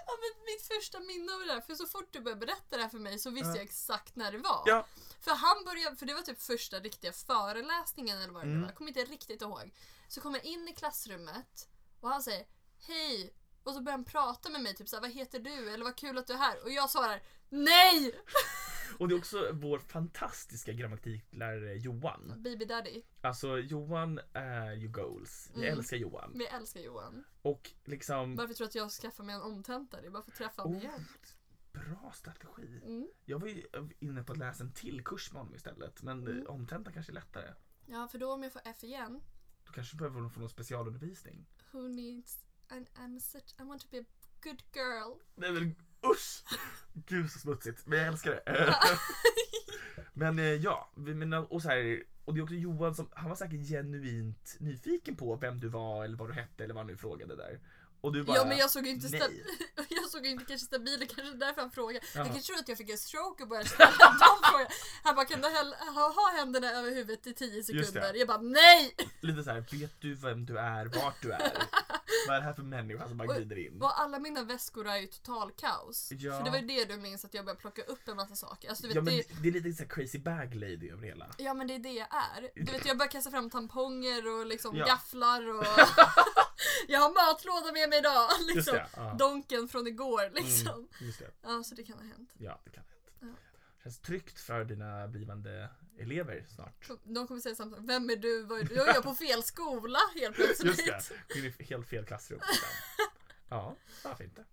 Ja, men mitt första minne av det där, för så fort du började berätta det här för mig så visste Ja. jag exakt när det var. Ja. För han började, för det var typ första riktiga föreläsningen eller vad det nu Mm. var, jag kommer inte riktigt ihåg. Så kommer jag in i klassrummet och han säger Hej! Och så börjar han prata med mig, typ såhär, vad heter du? Eller vad kul att du är här. Och jag svarar NEJ! Och det är också vår fantastiska grammatiklärare Johan. Baby Daddy. Alltså Johan är ju goals. Jag Mm. älskar Johan. Vi älskar Johan. Och liksom... Varför tror du att jag skaffar mig en omtäntare? Bara för att träffa honom Oh, igen. bra strategi. Mm. Jag var ju inne på att läsa en till kurs med honom istället. Men Mm. mm. omtenta kanske är lättare. Ja, för då om jag får F igen. Du kanske behöver få någon specialundervisning. Who needs... I'm, I'm such... I want to be a good girl. Nej men usch! Gud så smutsigt. Men jag älskar det. men eh, ja, vi menar, och så här. Och det är också Johan som, han var säkert genuint nyfiken på vem du var eller vad du hette eller vad han nu frågade där. Och du bara... ja men jag såg ju inte, sta- nej. jag såg ju inte kanske stabil, det kanske är därför han frågade. Han Jaha. kanske trodde att jag fick en stroke och började ställa de frågorna. Han bara, kan du häll- ha, ha händerna över huvudet i 10 det. Mm. sekunder? Jag bara, nej! Lite så här, vet du vem du är, vart du är? Vad är det här för människa som bara Och- glider in? Och alla mina väskor är ju total kaos. Ja. För det var ju det du minns, att jag började plocka upp en massa saker. Alltså, du Liksom, vet, Ja, men det, det är lite så här crazy bag lady över det hela. ja men det är det jag är. Du vet, jag börjar kasta fram tamponger och liksom Ja. gafflar och... jag har matlåda med mig idag! Just Liksom. det. Ja. Mm. Donken från igår liksom. Just det. Ja, så det kan ha hänt. Ja, det kan jag inte. Ja. Känns tryggt för dina blivande elever snart. De kommer säga samtidigt, vem är du? Vad är du? Jag är på fel skola helt plötsligt. Just det, det är ju helt fel klassrum. Ja, varför inte?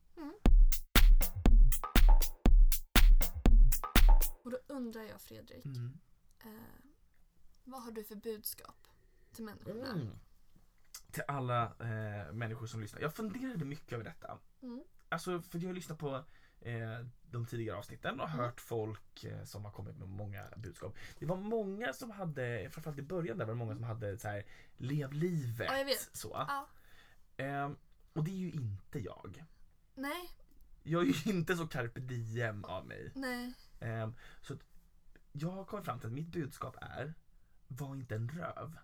Och då undrar jag Fredrik, Mm. eh, vad har du för budskap till människorna? Mm. Till alla eh, människor som lyssnar. Jag funderade mycket över detta. Mm. Alltså, för jag har lyssnat på eh, de tidigare avsnitten Mm. och hört folk eh, som har kommit med många budskap. Det var många som hade, framförallt i början där var det många som hade så här, lev livet. Ja, jag vet. Så. Ja, Ehm, och det är ju inte jag. nej, Jag är ju inte så carpe diem av mig. nej. Ehm, så att jag har kommit fram till att mitt budskap är, var inte en röv.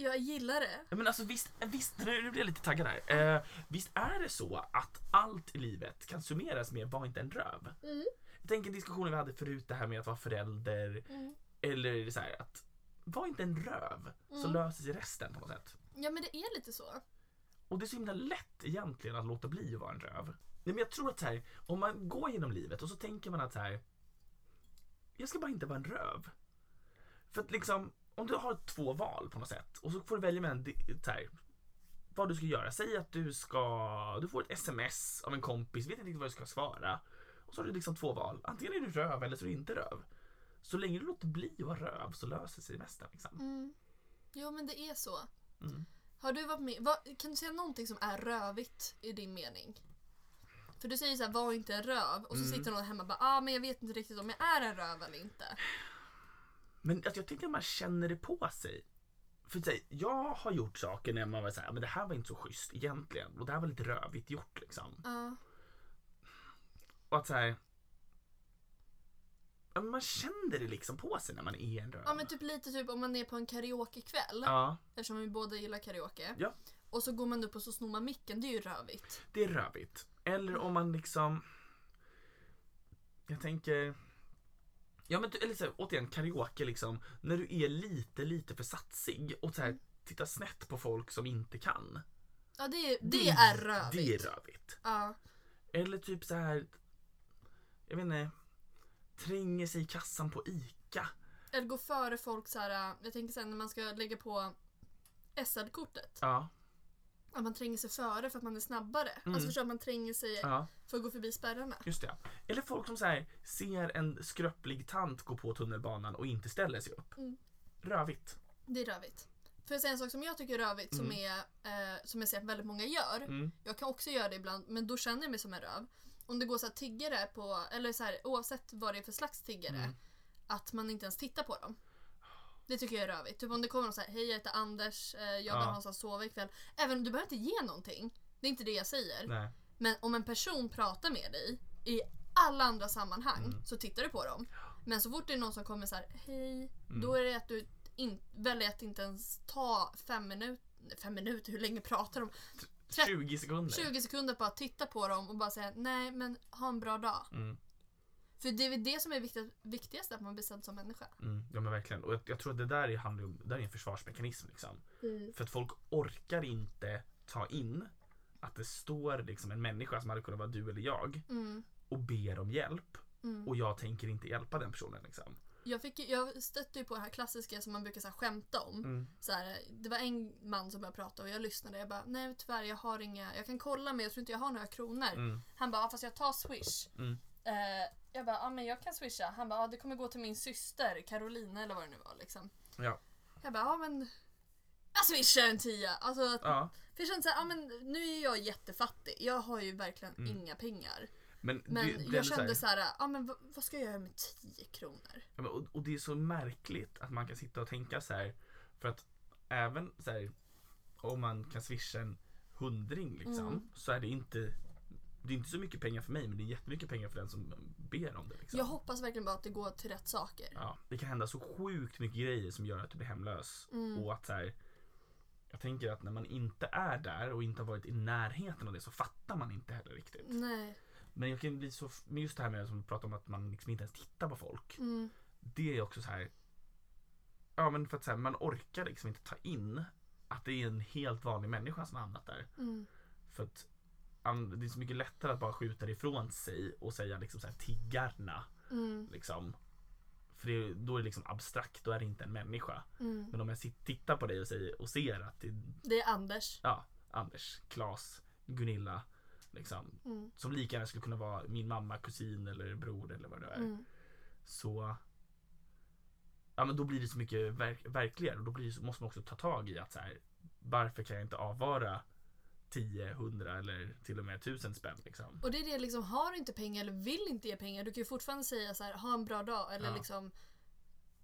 Jag gillar det. Ja, Men alltså visst, visst nu nu blir jag lite taggad här. Eh, visst är det så att allt i livet kan summeras med var inte en röv? Mm. Jag tänker diskussionen vi hade förut det här med att vara förälder Mm. eller så här att var inte en röv så Mm. löser sig resten på något sätt. Ja men det är lite så. Och det är så himla lätt egentligen att låta bli att vara en röv. Nej, men jag tror att så här, om man går genom livet och så tänker man att så här, jag ska bara inte vara en röv. För att liksom, om du har två val på något sätt och så får du välja med en, di- så här, vad du ska göra. Säg att du ska, du får ett sms av en kompis, vet inte riktigt vad du ska svara. Och så har du liksom två val. Antingen är du röv eller så är du inte röv. Så länge du låter bli att vara röv så löser sig det mesta. Liksom. Mm. Jo men det är så. Mm. Har du varit med, vad, kan du säga någonting som är rövigt i din mening? För du säger så här, var inte en röv och så Mm. sitter någon hemma och bara, ah men jag vet inte riktigt om jag är en röv eller inte. Men alltså, jag tänker att man känner det på sig. För att säga, jag har gjort saker när man var såhär, men det här var inte så schysst egentligen. Och det här var lite rövigt gjort liksom. Ja. Och att såhär... Ja, men man känner det liksom på sig när man är en röv. Ja men typ lite typ om man är på en karaokekväll. Ja, Eftersom vi båda gillar karaoke. Ja. Och så går man upp och så snor man micken, det är ju rövigt. det är rövigt. Eller om man liksom... Jag tänker... Ja men du- eller så här, återigen karaoke liksom. När du är lite, lite för satsig och så här, tittar snett på folk som inte kan. Ja det är, det är rövigt. Det är rövigt. Ja. Eller typ så här Jag vet inte. tränger sig i kassan på ICA. Eller gå före folk så här. äh, jag tänker sen när man ska lägga på SL-kortet. Ja, Att man tränger sig före för att man är snabbare. Alltså förstår du, att man tränger sig ja, för att gå förbi spärrarna. just det. Eller folk som så här, ser en skröplig tant gå på tunnelbanan och inte ställer sig upp. Mm. Rövigt. Det är rövigt. Får jag säga en sak som jag tycker är rövigt som, är, eh, som jag ser att väldigt många gör. Mm. Jag kan också göra det ibland men då känner jag mig som en röv. Om det går så här tiggare på, eller så här, oavsett vad det är för slags tiggare, Mm. att man inte ens tittar på dem. Det tycker jag är rövigt. Typ om det kommer någon så här, hej jag heter Anders, eh, jag vill Ja. ha någonstans att sova ikväll. Även om du behöver inte ge någonting. Det är inte det jag säger. Nej. Men om en person pratar med dig i alla andra sammanhang Mm. så tittar du på dem. Men så fort det är någon som kommer så här, hej, Mm. då är det att du in, väljer att inte ens ta fem minuter, fem minuter, hur länge pratar de? 20 sekunder. 20 sekunder på att titta på dem och bara säga nej men ha en bra dag. Mm. För det är väl det som är viktigt, viktigast, att man blir sedd som människa. Mm, ja men verkligen. Och jag, jag tror att det där är, handlar om, det där är en försvarsmekanism. Liksom. För att folk orkar inte ta in att det står liksom en människa som hade kunnat vara du eller jag Mm. och ber om hjälp Mm. och jag tänker inte hjälpa den personen. Liksom. Jag, fick, ju- jag stötte ju på det här klassiska som man brukar så här skämta om. Mm. så här, det var en man som började prata och jag lyssnade. Jag bara, nej tyvärr jag har inga, jag kan kolla men jag tror inte jag har några kronor. Mm. Han bara, "Ja, fast jag tar swish. Mm. Eh, jag bara, ja men jag kan swisha. Han bara, ja det kommer gå till min syster Carolina eller vad det nu var liksom. Ja. Jag bara, ja men jag swishar en tia. Alltså, att, ja. För jag kände såhär, ja men nu är jag jättefattig. Jag har ju verkligen Mm. inga pengar. Men, Men det, det är ändå jag så här- kände såhär, ja men v- vad ska jag göra med 10 kronor? Ja, men, och, och det är så märkligt att man kan sitta och tänka så här. För att även så här, om man kan swisha en hundring liksom, Mm. så är det inte det är inte så mycket pengar för mig men det är jättemycket pengar för den som ber om det. Liksom. Jag hoppas verkligen bara att det går till rätt saker. Ja, det kan hända så sjukt mycket grejer som gör att du blir hemlös. Mm. Och att så här, jag tänker att när man inte är där och inte har varit i närheten av det så fattar man inte heller riktigt. Nej. Men jag kan bli så, f- men just det här med som du pratar om att man liksom inte ens tittar på folk. Mm. Det är också så här, ja men för att så här, man orkar liksom inte ta in att det är en helt vanlig människa som har hamnat där. Mm. För att an- det är så mycket lättare att bara skjuta det ifrån sig och säga liksom så här tiggarna. Mm. Liksom. För det, då är det liksom abstrakt, då är det inte en människa. Mm. Men om jag sit- tittar på dig och, säger, och ser att det är Det är Anders. ja, Anders, Klas, Gunilla. Liksom, Mm. som lika gärna skulle kunna vara min mamma, kusin eller bror eller vad det nu är. Mm. Så ja, men då blir det så mycket verk- verkligare och då blir det, så- måste man också ta tag i att så här, varför kan jag inte avvara 10, 100 eller till och med 1000 spänn. Liksom. Och det är det liksom, har du inte pengar eller vill inte ge pengar, du kan ju fortfarande säga så här, ha en bra dag eller Ja. liksom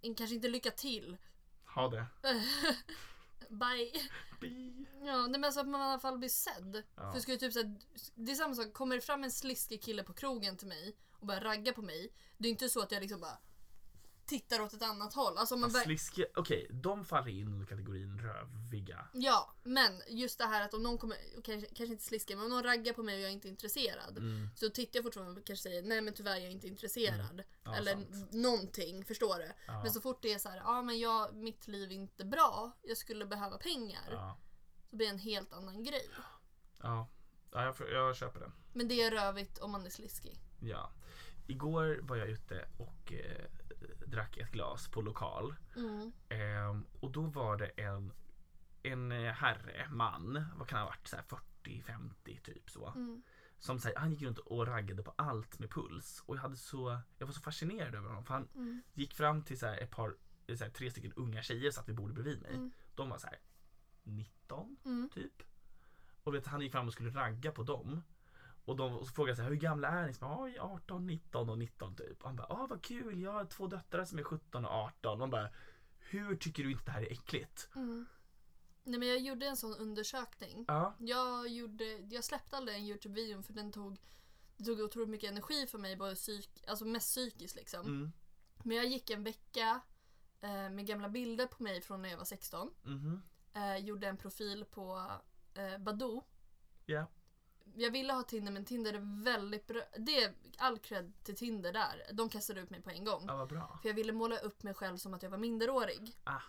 in- kanske inte lycka till. Ha det. Bye. Bi. Ja, nej, men alltså att man i alla fall blir sedd. Ja. För skulle typ så här, det är samma sak, kommer det fram en sliskig kille på krogen till mig och börjar ragga på mig, det är inte så att jag liksom bara tittar åt ett annat håll. Alltså om man verkligen Sliske, okej, de faller in under kategorin röviga. Ja, men just det här att om någon kommer, och kanske, kanske inte sliskar, men om någon raggar på mig och jag är inte är intresserad. Mm. Så tittar jag fortfarande och kanske säger nej men tyvärr jag är inte intresserad. Ja, Eller sant. n- någonting, förstår du? Ja. Men så fort det är så här, ja men jag, mitt liv är inte bra, jag skulle behöva pengar. Ja, Så blir det en helt annan grej. ja. ja jag, får- jag köper det. Men det är rövigt om man är sliskig. Ja. Igår var jag ute och eh, drack ett glas på lokal. Mm. Ehm, och då var det en, en eh, herre, man, vad kan han ha varit, så här 40-50 typ så. Mm. Som så här, han gick runt och raggade på allt med puls. Och jag, hade så, jag var så fascinerad över honom för han Mm. gick fram till så här ett par, eh, så här, tre stycken unga tjejer satt vid bordet bredvid mig. Mm. De var så här 19 Mm. typ. Och du vet, han gick fram och skulle ragga på dem. Och de och så frågade jag så här, hur gamla är ni? Så bara, "Oj, 18, 19 och 19 typ. Och han bara, ah, vad kul, jag har två döttrar som är 17 och 18. Man bara, hur tycker du inte det här är äckligt? Mm. Nej men jag gjorde en sån undersökning. Ja, Jag, gjorde, jag släppte aldrig den Youtube-videon för den tog, det tog otroligt mycket energi för mig, både psyk, alltså mest psykiskt liksom. mm, Men jag gick en vecka eh, med gamla bilder på mig från när jag var 16. mhm, Eh, gjorde en profil på eh, Badoo. ja, Jag ville ha Tinder men Tinder är väldigt bra. Det är all cred till Tinder där. De kastade ut mig på en gång. ja vad bra. För jag ville måla upp mig själv som att jag var minderårig. Ah.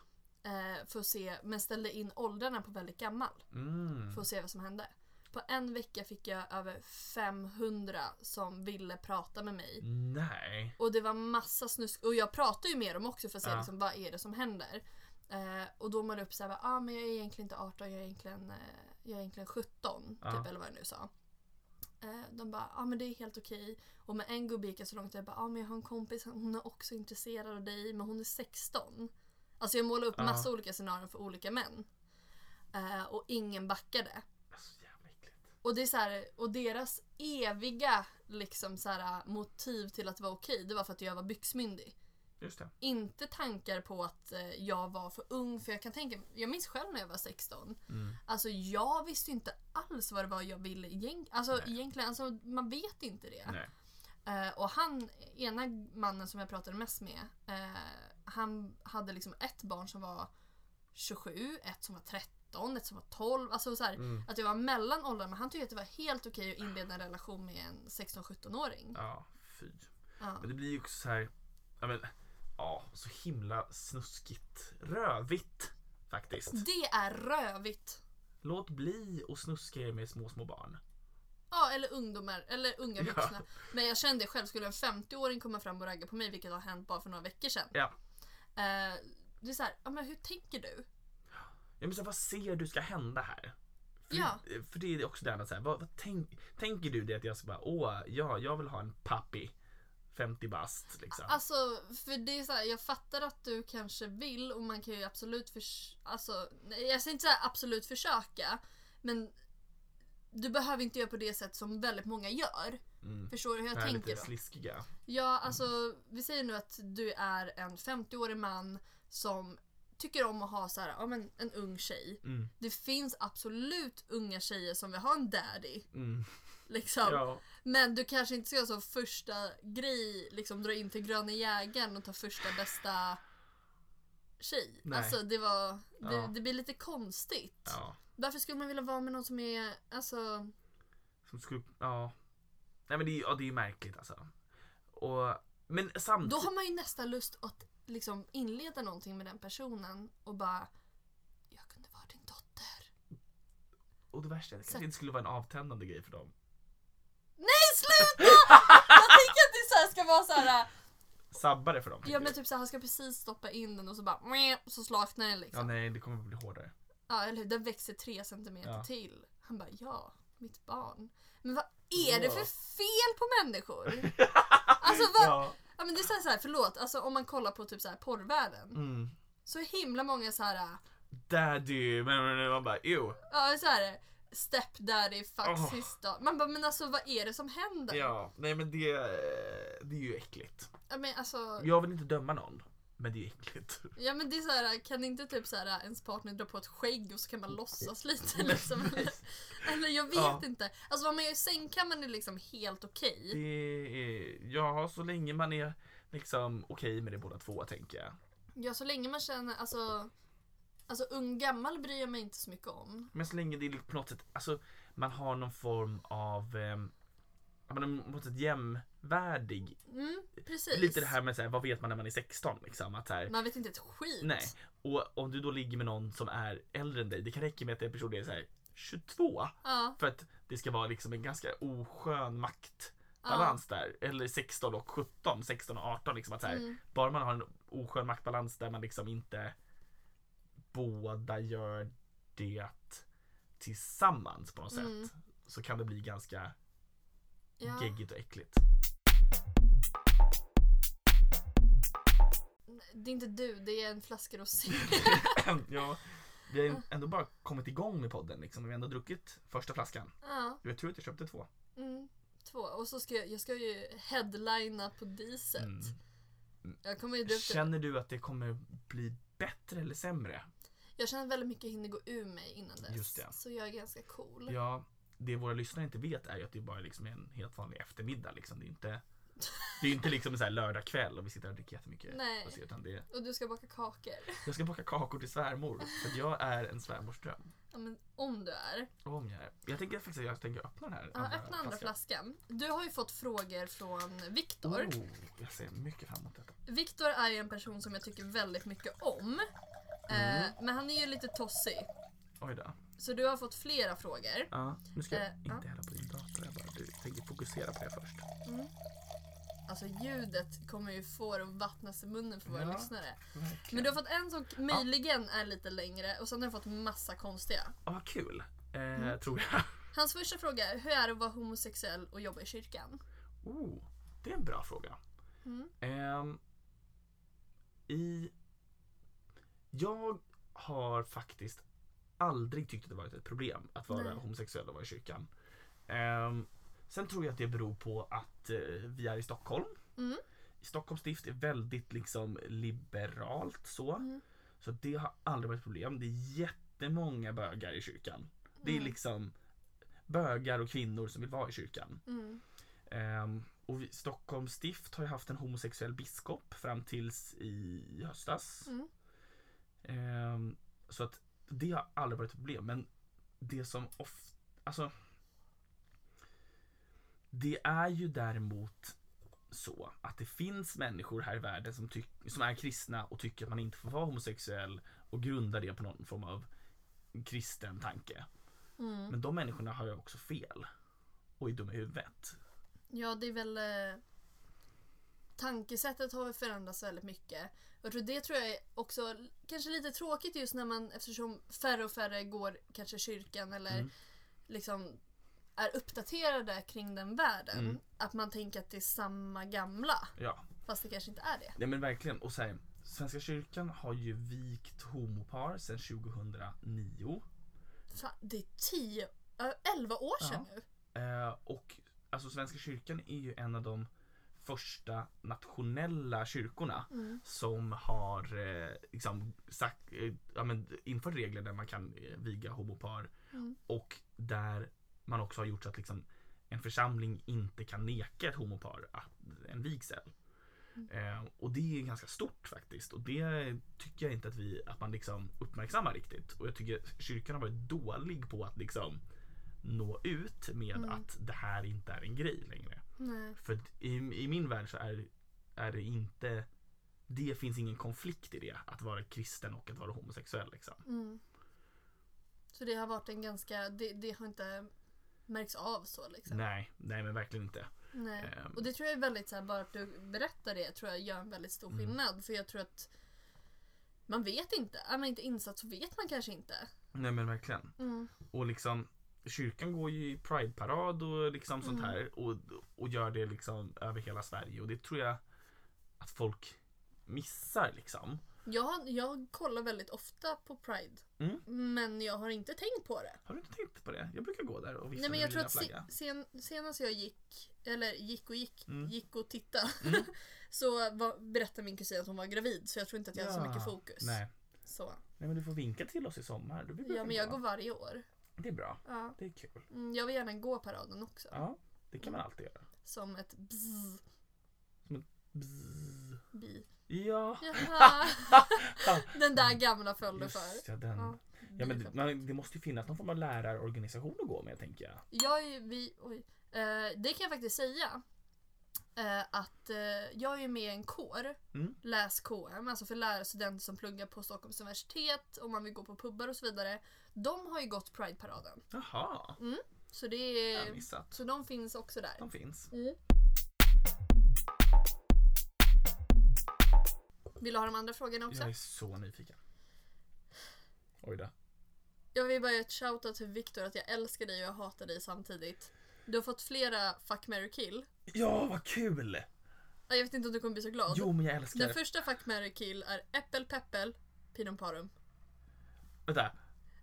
Eh, för att se, men ställde in åldrarna på väldigt gammal. Mm. För att se vad som hände. På en vecka fick jag över 500 som ville prata med mig. Nej. Och det var massa snusk. Och jag pratar ju med dem också för att se Ja. liksom, vad är det som händer. Eh, och då man upp såhär, ah, men jag är egentligen inte 18, jag är egentligen, eh, jag är egentligen 17. Ja. Typ, eller vad jag nu sa. Eh, de bara, ah, men det är helt okej. Och med en gubbe gick jag så långt att jag bara, ah, men jag har en kompis, hon är också intresserad av dig, men hon är 16. Alltså jag målade upp Ja. massa olika scenarion för olika män. Eh, och ingen backade. Alltså jävla äckligt. Och det är så här, och deras eviga liksom så här, motiv till att vara okej, det var för att jag var byxmyndig. Just det. Inte tankar på att eh, jag var för ung, för jag kan tänka, jag minns själv när jag var 16. Mm. Alltså jag visste ju inte alls vad det var jag ville egentligen. Alltså Nej. egentligen, alltså, man vet inte det. Nej. Eh, och han, ena mannen som jag pratade mest med, eh, han hade liksom ett barn som var 27, ett som var 13, ett som var 12. Alltså så här, Mm. att jag var mellan åldrarna men han tyckte att det var helt okej att inleda en relation med en 16-17-åring. Ja, fy. Ja. Men det blir ju också så här. Ja, men, ja så himla snuskigt. Rövigt faktiskt. Det är rövigt! Låt bli och snuska er med små, små barn. Ja, eller ungdomar, eller unga Ja. vuxna. Men jag kände själv, skulle en 50-åring komma fram och ragga på mig, vilket har hänt bara för några veckor sedan. Ja. Eh, det är såhär, ja men hur tänker du? Ja, men så, vad ser du ska hända här? För, Ja. för det är också det andra, så här, vad, vad tänk, tänker du det att jag ska bara, åh, ja, jag vill ha en pappi, 50 bast liksom. Alltså, för det är så här, jag fattar att du kanske vill och man kan ju absolut förs- alltså, nej, jag säger inte så här absolut försöka, men du behöver inte göra på det sätt som väldigt många gör. Mm. Förstår du hur jag det här tänker lite då? sliskiga. Ja, alltså vi säger nu att du är en 50-årig man som tycker om att ha så här, ja, men en ung tjej. Mm. Det finns absolut unga tjejer som vill ha en daddy. Mm. Liksom. Ja. Men du kanske inte ska som första grej liksom dra in till gröna jägaren och ta första bästa tjej. Nej. Alltså det var, det, Ja. det blir lite konstigt. ja. Varför skulle man vilja vara med någon som är, alltså, Som skulle, ja. Nej men det, är- ja, det är ju märkligt alltså. Och, men samtidigt. Då har man ju nästan lust att liksom inleda någonting med den personen och bara Jag kunde vara din dotter. Och det värsta är att det Så- kanske inte skulle vara en avtändande grej för dem. Nej sluta! Jag tänker att det så här ska vara så här. Sabba det för dem. Ja tänker men jag. typ så här, han ska precis stoppa in den och så bara "Meh", och så slaknar den ja liksom. Ja, nej det kommer bli hårdare. eller hur, den växer tre centimeter Ja. till. Han bara ja, mitt barn. Men vad är det för fel på människor? Alltså vad? Ja. Ja. men det är så här, så här förlåt, alltså om man kollar på typ så här porrvärlden. Mm. Så himla många så här Daddy, men men- man bara jo. Ja, så här. Stepdaddy, fuck Åh. sister. Man bara, men alltså vad är det som händer? Ja, nej men det, eh, det är ju äckligt. Ja, men alltså, Jag vill inte döma någon, men det är ju äckligt. ja men det är så här, kan inte typ så här ens partner dra på ett skägg och så kan man låtsas lite liksom? Eller- Eller jag vet Ja. inte. Alltså vad man gör i sängkammaren är liksom helt okej. Det är, ja, så länge man är liksom okej med det båda två tänker jag. Ja, så länge man känner, alltså, alltså ung gammal bryr jag mig inte så mycket om. Men så länge det är på något sätt, alltså man har någon form av, eh, ja, men på något sätt jämvärdig. Mm, precis. Lite det här med så här, vad vet man när man är 16 liksom? Att, så här, Man vet inte ett skit. nej. Och om du då ligger med någon som är äldre än dig, det kan räcka med att den personen är så här 22 Ja, för att det ska vara liksom en ganska oskön makt. balans där. Eller 16 och 17, 16 och 18. Liksom att så här, Mm. Bara man har en oskön maktbalans där man liksom inte båda gör det tillsammans på något Mm. sätt. Så kan det bli ganska ja. geggigt och äckligt. Det är inte du, det är en flaska rosé. ja, vi har ändå bara kommit igång med podden liksom. Vi har ändå druckit första flaskan. ja. Jag tror att jag köpte två. Mm, två. Och så ska jag, jag ska ju headlina på Diset. Mm. Jag kommer ju dra upp det. Känner du att det kommer bli bättre eller sämre? Jag känner att väldigt mycket hinner gå ur mig innan dess. Just det. Så jag är ganska cool. Ja, det våra lyssnare inte vet är ju att det bara liksom är en helt vanlig eftermiddag. Liksom. Det är ju inte, det är ju inte liksom en så här lördagkväll och vi sitter och dricker jättemycket. Nej. rosé, Utan det, är- Och du ska baka kakor. jag ska baka kakor till svärmor för att jag är en svärmors dröm. Ja, men om du är. Om jag, är. jag tänker faktiskt att jag tänker öppna den här Ja, öppna andra flaskan. Du har ju fått frågor från Viktor. Oh, jag ser mycket fram emot detta. Viktor Mm. är ju en person som jag tycker väldigt mycket om. Eh, men han är ju lite tossig. Oj då. Så du har fått flera frågor. Ja, nu ska jag Eh, ja. inte hälla på din dator. Jag bara, du tänker fokusera på det först. Alltså ljudet kommer ju få det att vattnas i munnen för våra Ja. lyssnare. Verkligen. Men du har fått en som möjligen är lite längre och sen har du fått massa konstiga. Ja, vad kul. Eh, Mm. Tror jag. Hans första fråga är, hur är det att vara homosexuell och jobba i kyrkan? Oh, det är en bra fråga. Mm. Ehm, I... Jag har faktiskt aldrig tyckt att det varit ett problem att vara Nej. homosexuell och vara i kyrkan. Ehm, sen tror jag att det beror på att eh, vi är i Stockholm. Mm. Stockholms stift är väldigt liksom liberalt så. Mm. Så det har aldrig varit ett problem. Det är jättemånga bögar i kyrkan. Det är Mm. liksom bögar och kvinnor som vill vara i kyrkan. Mm. Ehm, och vi, Stockholms stift har ju haft en homosexuell biskop fram tills i höstas. Mm. Ehm, så att det har aldrig varit ett problem. Men det som ofta, alltså. Det är ju däremot så att det finns människor här i världen som, tyck- som är kristna och tycker att man inte får vara homosexuell och grundar det på någon form av kristen tanke. Mm. Men de människorna har ju också fel och är dumma i huvudet. Ja, det är väl... Eh, tankesättet har väl förändrats väldigt mycket. Och jag tror det tror jag är också l- kanske lite tråkigt just när man eftersom färre och färre går kanske i kyrkan eller Mm. liksom är uppdaterade kring den världen. Mm. Att man tänker att det är samma gamla. Ja, Fast det kanske inte är det. Nej men verkligen. Och så här, Svenska kyrkan har ju vikt homopar sedan 2009. Fan, det är 10, 11 år Ja. sedan nu. Eh, och alltså Svenska kyrkan är ju en av de första nationella kyrkorna Mm. som har eh, liksom, sagt, eh, ja, men, infört regler där man kan eh, viga homopar Mm. och där man också har gjort så att liksom, en församling inte kan neka ett homopar att, en vigsel. Mm. Eh, och det är ganska stort faktiskt och det tycker jag inte att, vi, att man liksom uppmärksammar riktigt. Och jag tycker kyrkan har varit dålig på att liksom nå ut med Mm. att det här inte är en grej längre. Nej. För att i, i min värld så är, är det inte det finns ingen konflikt i det, att vara kristen och att vara homosexuell. Liksom. Mm. Så det har varit en ganska, det, det har inte märks av så liksom. Nej, nej men verkligen inte. Nej. Ehm. Och det tror jag är väldigt så här, bara att du berättar det tror jag gör en väldigt stor Mm. skillnad. För jag tror att man vet inte. Är man inte insatt så vet man kanske inte. Nej men verkligen. Mm. Och liksom, kyrkan går ju i prideparad och liksom sånt Mm. här och, och gör det liksom över hela Sverige och det tror jag att folk missar liksom. Jag, jag kollar väldigt ofta på Pride. Mm. Men jag har inte tänkt på det. Har du inte tänkt på det? Jag brukar gå där och vifta Nej men jag med tror min att lilla flagga. se, sen, senast jag gick, eller gick och gick, Mm. gick och titta Så var, berättade min kusin att hon var gravid så jag tror inte att jag har så mycket fokus. Nej. Så. nej, men du får vinka till oss i sommar. Du brukar Ja men jag gå. går varje år. Det är bra. Ja. Det är kul. Mm, Jag vill gärna gå paraden också. Ja, det kan man alltid göra. Som ett bzzz, Bzzz. bi. Ja, Jaha. Den där gamla föll du för. just ja, den. Ja, Ja, men det, man, det måste ju finnas någon form av lärarorganisation att gå med tänker jag. Jag är, ju- vi, oj. Eh, det kan jag faktiskt säga. Eh, att eh, jag är med i en kår, Mm. Läs KM, alltså för lärarstudenter som pluggar på Stockholms universitet, om man vill gå på pubbar och så vidare. De har ju gått Pride-paraden. Jaha, Så, det jag har är, missat. så de finns också där. De finns. Vill du ha de andra frågorna också? Jag är så nyfiken. Oj då. Jag vill bara ge ett shoutout till Viktor att jag älskar dig och jag hatar dig samtidigt. Du har fått flera fuck, marry, kill. Ja, vad kul! Ja, Jag vet inte om du kommer bli så glad. Jo, men jag älskar Den första fuck, marry, kill är äppel, peppel, pinum parum. Vänta.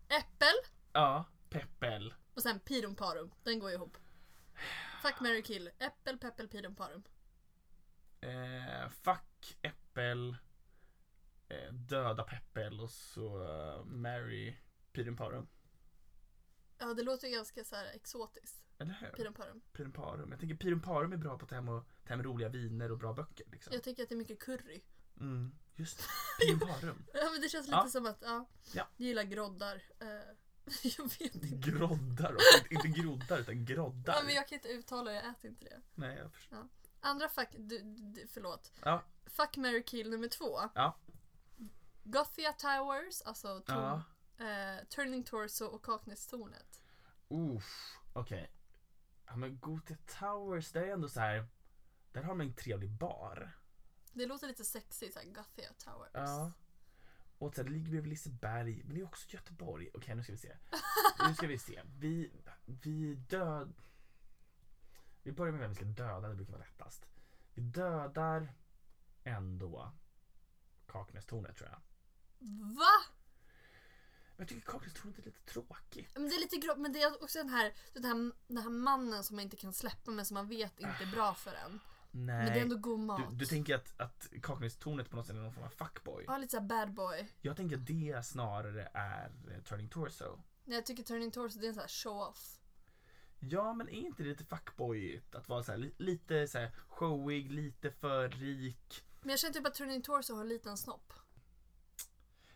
Äppel Ja, Peppel. och sen pirum parum. Den går ihop. Fuck, marry, kill. Äppel, peppel, pirum parum. Eh, fuck, Äppel. Eh, döda Peppel och så eh, Mary Pirum Parum. Ja, det låter ju ganska så här exotiskt. Eller hur? Pirum parum. Pirum Parum. Jag tänker Pirum Parum är bra på att ta hem, och, ta hem roliga viner och bra böcker. Liksom. Jag tycker att det är mycket curry. Mm, just det. Pirum Parum. Ja, men det känns lite Ja. som att, ja. Ja. Du gillar groddar. Eh, jag vet inte. Groddar också. Inte groddar utan groddar. Ja, men jag kan inte uttala det, jag äter inte det. Nej, jag förstår. Andra fuck, du, du, förlåt. Ja, Fuck, marry, kill nummer två. Ja. Gothia Towers, alltså Tom, ja. eh, Turning Torso och Kaknästornet. Uff, okej. Ja men Gothia Towers, där är ändå så här. Där har man en trevlig bar. Det låter lite sexigt, såhär Gothia Towers. Ja. Och sen ligger vi vid Liseberg, men det är också Göteborg. Okej, nu ska vi se. Nu ska vi se. Vi, vi död... Vi börjar med vem vi ska döda, det brukar vara lättast. Vi dödar ändå Kaknästornet tror jag. Va? Men jag tycker Kaknästornet är lite tråkigt. Men det är lite grått, men det är också den här, den här, den här mannen som man inte kan släppa men som man vet inte är bra för en. Nej. Men det är ändå god mat. du, du tänker att, att Kaknästornet på något sätt är någon form av fuckboy. Ja, lite såhär bad boy. Jag tänker att det snarare är eh, Turning Torso. Nej, Jag tycker Turning Torso det är en sån här show-off. Ja, men är inte det lite fuckboyigt att vara så här, li- lite så här showig, lite för rik? Men jag känner typ att Turning Torso har en liten snopp.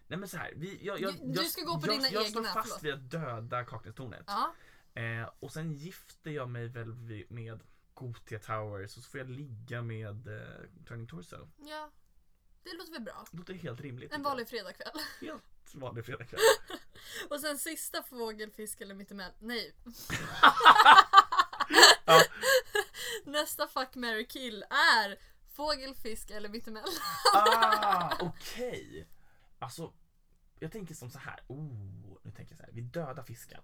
Nej men så här, vi, jag, jag, Du- du ska gå på jag, dina jag, Jag egna, står fast förlåt. vid att döda Kaknästornet. Ja. Eh, och sen gifter jag mig väl vid- med Gothia Towers och så får jag ligga med eh, Turning Torso. Ja. Det låter väl bra. Det låter helt rimligt. En tycker vanlig fredagkväll. jag. Helt vanlig fredagkväll. Och sen sista fågel, fisk eller mittemellan. Nej. Ja. Nästa fuck, marry, kill är fågel, fisk eller mittemellan. ah, okej. Alltså, jag tänker som så här. Oh, nu tänker jag så här. Vi dödar fisken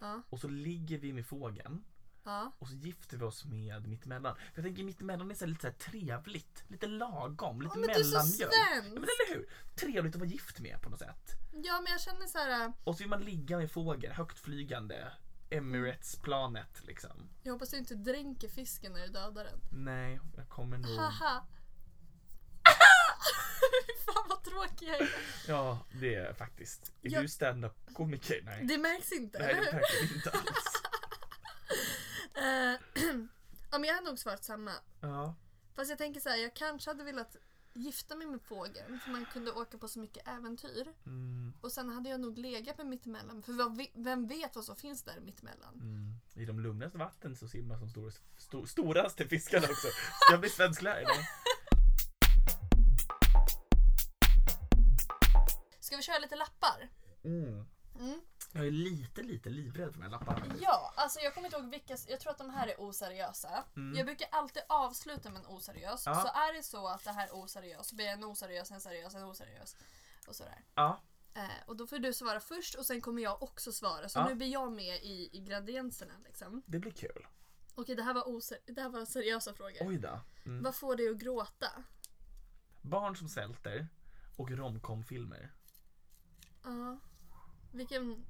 Ja, och så ligger vi med fågeln. ja. Och så gifter vi oss med mittemellan. För jag tänker mittemellan är så här, lite så här trevligt, lite lagom, lite men du är så mellanmjölk. Ja, men svensk! eller hur? Trevligt att vara gift med på något sätt. Ja men jag känner så här. äh, Och så vill man ligga med fågel, högtflygande. Emirates-planet liksom. jag hoppas du inte dränker fisken när du dödar den. Nej, jag kommer nog... Haha. Fy Fan vad tråkig jag är. Ja, det är jag faktiskt. Är Ja. du standup-komiker? Nej. Det märks inte, Nej, eller det hur? märker vi inte alls. Eh, ja men jag hade nog svarat samma. Ja. Fast jag tänker så här, jag kanske hade velat gifta mig med fågeln för man kunde åka på så mycket äventyr. Mm, Och sen hade jag nog legat med mittemellan. För vad, ve- vem vet vad som finns där mittemellan? mm. I de lugnaste vatten så simmar som stor, sto, storaste fiskarna också. Jag blir svensklärare. idag. Ska vi köra lite lappar? Mm. Mm. Jag är lite, lite livrädd för de här lapparna. Ja, alltså jag kommer inte ihåg vilka, jag tror att de här är oseriösa. Jag brukar alltid avsluta med en oseriös. Mm. Ja. Så är det så att det här är oseriös så blir jag en oseriös, en seriös, en oseriös. Och sådär. Ja. Eh, och då får du svara först och sen kommer jag också svara. Så Ja. nu blir jag med i, i gradienserna liksom. Det blir kul. Okej, det här var, oser- det här var seriösa frågor. Oj då. Mm. Vad får dig att gråta? Barn som svälter och romcom-filmer. Ja. Vilken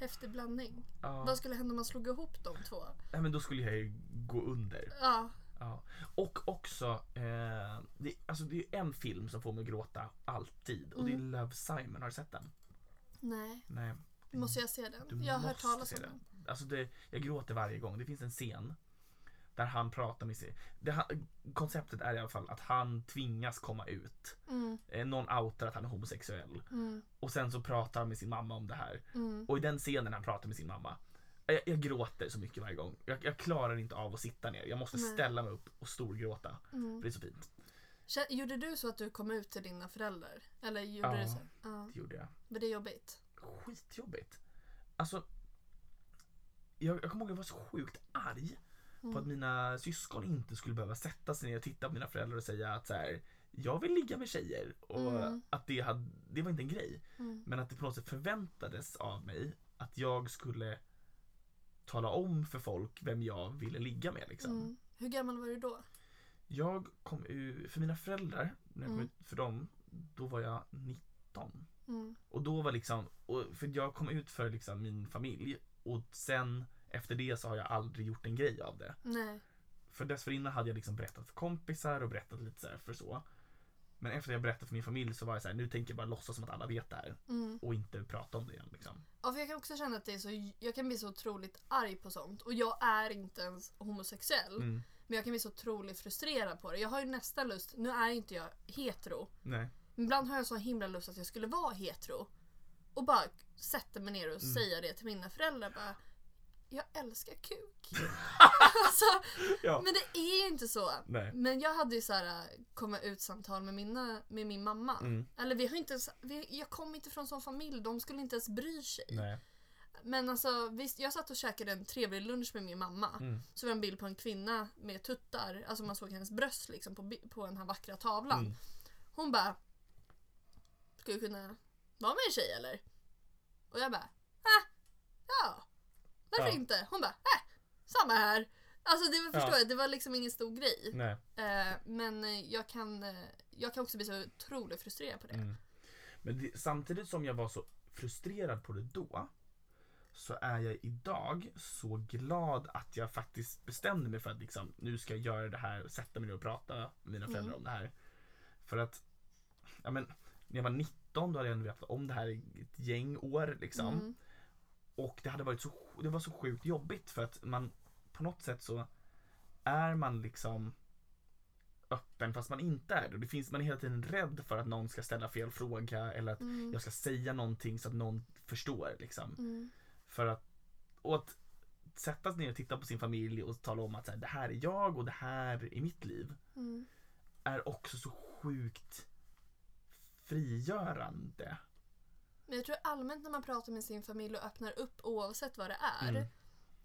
häftig blandning. Ja. Vad skulle hända om man slog ihop de två? Nej, men då skulle jag ju gå under. Ja. Ja. Och också, eh, det, alltså det är en film som får mig att gråta alltid och Mm. det är Love Simon. Har du sett den? Nej. Nej. Måste jag se den? Du jag har hört måste talas se om den. Alltså det, jag gråter varje gång. Det finns en scen där han pratar med sig. Det, han- konceptet är i alla fall att han tvingas komma ut. Mm, Eh, någon outar att han är homosexuell. mm, Och sen så pratar han med sin mamma om det här. mm. Och i den scenen när han pratar med sin mamma. eh, Jag, jag gråter så mycket varje gång. Jag, jag klarar inte av att sitta ner. Jag måste Nej. ställa mig upp och storgråta. Mm. För det är så fint. Kä- Gjorde du så att du kom ut till dina föräldrar? Eller gjorde Ja. du så? Ja. Det gjorde jag. Men det är jobbigt. Skitjobbigt. Alltså. Jag, jag kommer ihåg att jag var så sjukt arg Mm, på att mina syskon inte skulle behöva sätta sig ner och titta på mina föräldrar och säga att så här, jag vill ligga med tjejer. Och Mm. att det, hade, det var inte en grej. Mm. Men att det på något sätt förväntades av mig att jag skulle tala om för folk vem jag ville ligga med. Liksom. Mm. Hur gammal var du då? Jag kom ur, för mina föräldrar, när jag kom Mm. ut för dem, då var jag 19. Mm. Och då var liksom, och för jag kom ut för liksom min familj och sen efter det så har jag aldrig gjort en grej av det. Nej. För dessförinnan hade jag liksom berättat för kompisar och berättat lite så här för så. Men efter jag berättat för min familj så var jag så här, nu tänker jag bara låtsas som att alla vet det här Mm. och inte prata om det igen. Liksom. Ja, för jag kan också känna att det är så, jag kan bli så otroligt arg på sånt. Och jag är inte ens homosexuell. Mm. Men jag kan bli så otroligt frustrerad på det. Jag har ju nästan lust, nu är inte jag hetero. Nej. Men ibland har jag så himla lust att jag skulle Mm. vara hetero. Och bara sätta mig ner och säga det till mina föräldrar. Bara, jag älskar kuk. alltså, Ja. men det är ju inte så. Nej. Men jag hade ju så här äh, komma ut samtal med, mina, med min mamma. Mm. Eller vi har inte ens, vi, jag kom inte från sån familj, de skulle inte ens bry sig. Nej. Men alltså visst, jag satt och käkade en trevlig lunch med min mamma. Mm. Så var det en bild på en kvinna med tuttar, alltså man såg hennes bröst liksom på, bi- på den här vackra tavlan. Mm. Hon bara Ska du kunna vara med en tjej eller? Och jag bara ah, Ja, varför Ja. inte? Hon bara äh, samma här. Alltså det var, Ja. förstår jag, det var liksom ingen stor grej. Nej. Eh, men eh, jag kan, eh, jag kan också bli så otroligt frustrerad på det. Mm. Men det, samtidigt som jag var så frustrerad på det då så är jag idag så glad att jag faktiskt bestämde mig för att liksom, nu ska jag göra det här, sätta mig ner och prata med mina föräldrar om det här. För att, ja men, när jag var 19 då hade jag ändå vetat om det här i ett gäng år liksom. Mm. Och det hade varit så, det var så sjukt jobbigt för att man på något sätt så är man liksom öppen fast man inte är det. det finns, man är hela tiden rädd för att någon ska ställa fel fråga eller att Mm. jag ska säga någonting så att någon förstår. Liksom. Mm. För att, och att sätta sig ner och titta på sin familj och tala om att så här, det här är jag och det här är mitt liv Mm. är också så sjukt frigörande. Men jag tror allmänt när man pratar med sin familj och öppnar upp oavsett vad det är Mm.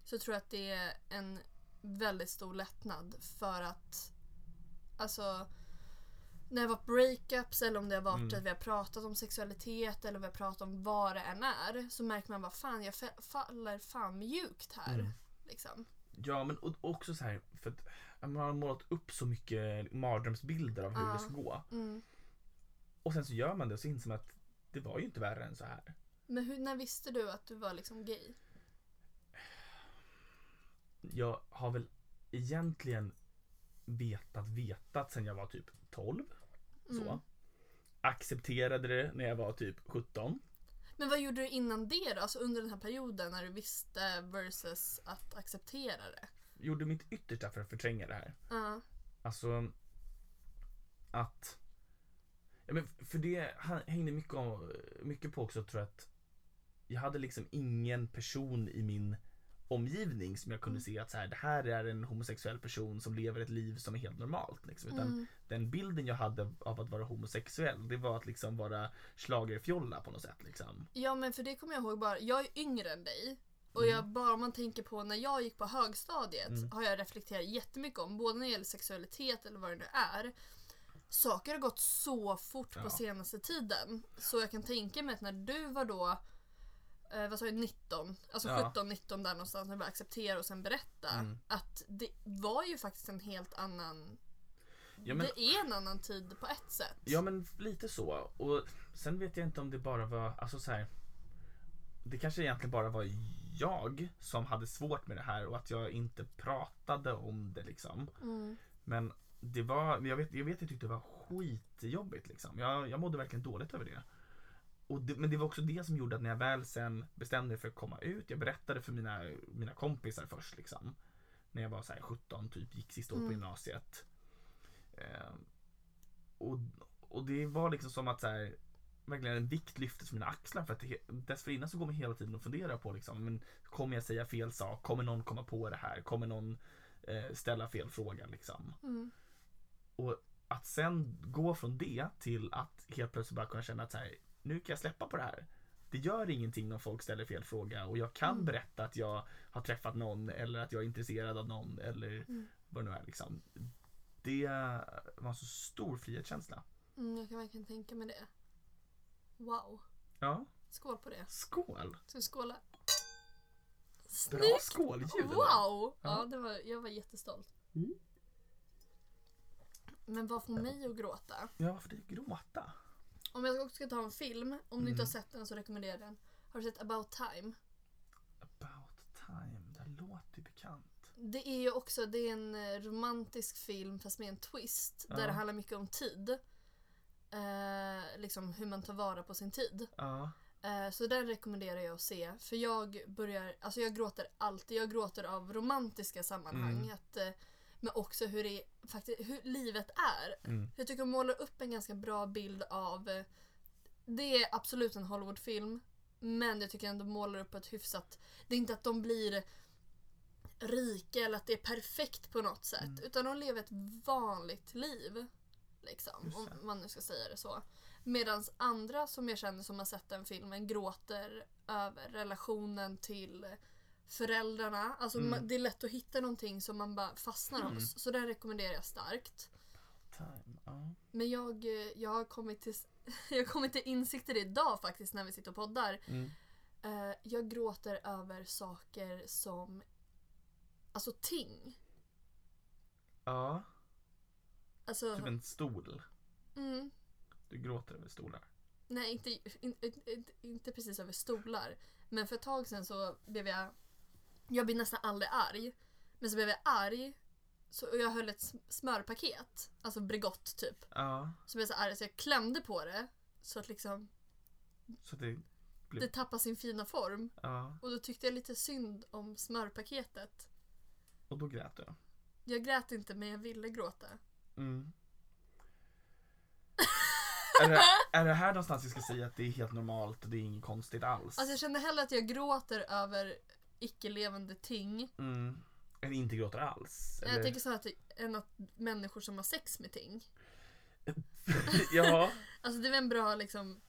så tror jag att det är en väldigt stor lättnad för att alltså när det har varit breakups eller om det har varit Mm. att vi har pratat om sexualitet eller vi har pratat om vad det än är så märker man vad fan jag fa- faller fan mjukt här. Mm. Liksom. Ja men och- också så här för att man har målat upp så mycket mardrömsbilder av hur Ja. det ska gå. Mm. Och sen så gör man det och så inser man att det var ju inte värre än så här. Men hur, när visste du att du var liksom gay? Jag har väl egentligen vetat vetat sen jag var typ 12. Mm. Så. Accepterade det när jag var typ 17. Men vad gjorde du innan det då? Alltså under den här perioden när du visste versus att acceptera det? Gjorde mitt yttersta för att förtränga det här. Ja. Alltså att... Ja, men för det han- hängde mycket, om, mycket på också tror jag att jag hade liksom ingen person i min omgivning som jag kunde se att så här, det här är en homosexuell person som lever ett liv som är helt normalt. Liksom. Utan Mm. den bilden jag hade av att vara homosexuell det var att liksom vara schlagerfjolla på något sätt. Liksom. Ja men för det kommer jag ihåg bara, jag är yngre än dig och Mm. jag, bara om man tänker på när jag gick på högstadiet har jag reflekterat jättemycket om både när det gäller sexualitet eller vad det nu är. Saker har gått så fort på Ja. senaste tiden så jag kan tänka mig att när du var då eh, vad sa jag, 19, alltså Ja. 17, 19 där någonstans när du började acceptera och sen berätta Mm. att det var ju faktiskt en helt annan, Ja, men, det är en annan tid på ett sätt. Ja men lite så. Och sen vet jag inte om det bara var, alltså så här. Det kanske egentligen bara var jag som hade svårt med det här och att jag inte pratade om det liksom. Mm. Men det var, men jag vet, jag vet jag tyckte det var skitjobbigt liksom. Jag, jag mådde verkligen dåligt över det. Och det. Men det var också det som gjorde att när jag väl sen bestämde mig för att komma ut, jag berättade för mina, mina kompisar först liksom. När jag var så här 17, typ gick sista året på Mm. gymnasiet. Eh, och, och det var liksom som att så här, verkligen en vikt lyftes från mina axlar. För att he- dessförinnan så går man hela tiden och funderar på liksom, men kommer jag säga fel sak? Kommer någon komma på det här? Kommer någon eh, ställa fel fråga liksom? Mm. Och att sen gå från det till att helt plötsligt bara kunna känna att så här, nu kan jag släppa på det här. Det gör ingenting om folk ställer fel fråga och jag Mm. kan berätta att jag har träffat någon eller att jag är intresserad av någon eller Mm. vad det nu är. Liksom. Det var en så stor frihetskänsla. Mm, jag kan verkligen tänka mig det. Wow. Ja, Skål på det. skål! Ska vi skåla? Bra Snyggt! skålljud! ändå. Wow! Ja, Ja. det var, jag var jättestolt. Mm. Men vad får mig att gråta? Ja, varför det gråta? Om jag också ska ta en film, om du Mm. inte har sett den så rekommenderar jag den. Har du sett About Time? About time, det här låter ju bekant. Det är ju också det är en eh, romantisk film fast med en twist där Ja. det handlar mycket om tid. Eh, liksom hur man tar vara på sin tid. Ja, Eh, Så den rekommenderar jag att se. För jag börjar, alltså jag gråter alltid. Jag gråter av romantiska sammanhang. Mm. Att, eh, men också hur, det, faktiskt, hur livet är. Mm. Jag tycker hon målar upp en ganska bra bild av... eh, Det är absolut en Hollywoodfilm. Men jag tycker ändå målar upp ett hyfsat... Det är inte att de blir rika eller att det är perfekt på något sätt. Mm. Utan de lever ett vanligt liv. Liksom, Just om det. man nu ska säga det så. Medan andra som jag känner som har sett den filmen gråter över relationen till föräldrarna. Alltså Mm. man, det är lätt att hitta någonting som man bara fastnar Mm. hos. Så den rekommenderar jag starkt. Time. Ja. Men jag, eh, jag, har kommit till, jag har kommit till insikt i det idag faktiskt när vi sitter och poddar. Mm. Eh, jag gråter över saker som... Alltså ting. ja, Alltså, typ en stol. mm, Du gråter över stolar. nej, inte, in, in, in, inte precis över stolar. Men för ett tag sedan så blev jag... Jag blir nästan aldrig arg. Men så blev jag arg. Så, och jag höll ett sm- smörpaket. Alltså Bregott typ. Ja, Så blev jag så arg så jag klämde på det. Så att liksom så det... det tappar sin fina form. Ja, Och då tyckte jag lite synd om smörpaketet. och då grät du. Jag grät inte men jag ville gråta. Mm. är, det, är det här någonstans vi ska säga att det är helt normalt och det är inget konstigt alls? Alltså jag kände hellre att jag gråter över icke-levande ting. mm. Eller inte gråter alls? Jag eller? tänker så här att, än att människor som har sex med ting. ja. Alltså det är väl en bra liksom...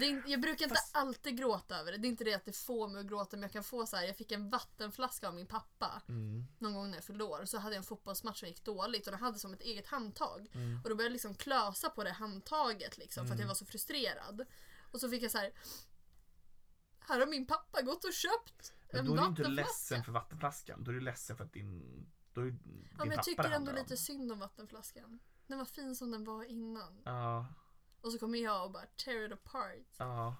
Det är, in- jag brukar inte Fast- alltid gråta över det. Det är inte det att det får mig att gråta men jag kan få så här. jag fick en vattenflaska av min pappa Mm. någon gång när jag fyllde år. Så hade jag en fotbollsmatch som gick dåligt och den hade som ett eget handtag. Mm. Och då började jag liksom klösa på det handtaget liksom, för att jag var så frustrerad. Och så fick jag så här. Här har min pappa gått och köpt Men en då är du inte vattenflaska. ledsen för vattenflaskan. Då är du ledsen för att din... Då är din Ja, men pappa jag tycker det ändå handlar om. lite synd om vattenflaskan. Den var fin som den var innan. Ja, Och så kommer jag och bara tear it apart. ja.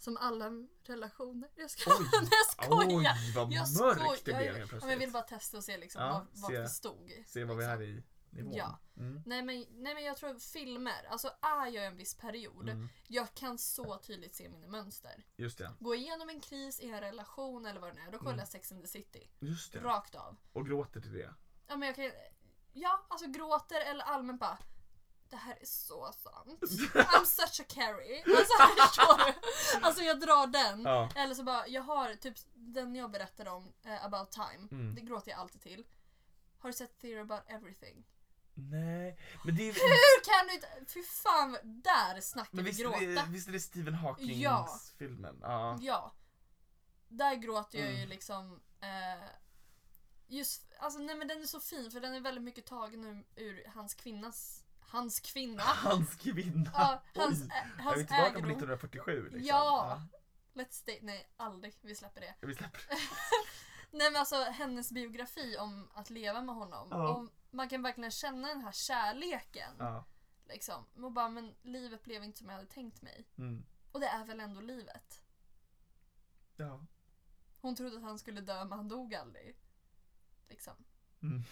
Som alla relationer. Jag ska Oj. Nej, jag Oj, skojar! vad jag mörkt det skojar. blev helt ja, men jag vill plötsligt. bara testa och se liksom, Ja, vad, vad se. vi stod i. Se vad vi är i nivån. Ja. Mm. Nej men, nej men jag tror filmer, alltså är jag i en viss period, Mm. jag kan så tydligt se mina mönster. Just det. Gå igenom en kris i en relation eller vad det nu är, då kollar jag Mm. Sex and the City. Just det. Rakt av. Och gråter till det. Ja, men jag kan, ja, alltså gråter eller allmänt bara det här är så sant. I'm such a Carrie. Alltså förstår du? Alltså jag drar den. Ja. Eller så bara, jag har typ den jag berättade om, eh, About Time. Mm. Det gråter jag alltid till. Har du sett Theory About Everything? Nej, men det är... Hur kan du inte? Fy fan, där snackar Men vi visst, är det, gråta. visst är det Stephen Hawkings Ja. filmen? Ja. Ja. Där gråter jag ju Mm. liksom... Eh, just, alltså, nej, men den är så fin för den är väldigt mycket tagen ur, ur hans kvinnas... Hans kvinna? Hans kvinna. ja, hans Oj. ä, är vi hans tillbaka på ägro. 1947? Liksom. Ja. Let's stay, nej, aldrig. Vi släpper det. Ja, Vi släpper. Nej men alltså hennes biografi om att leva med honom. Ja. Och man kan verkligen känna den här kärleken. Ja. Liksom. Och bara, men livet blev inte som jag hade tänkt mig. Mm. Och det är väl ändå livet. ja. Hon trodde att han skulle dö men han dog aldrig. Liksom. Mm.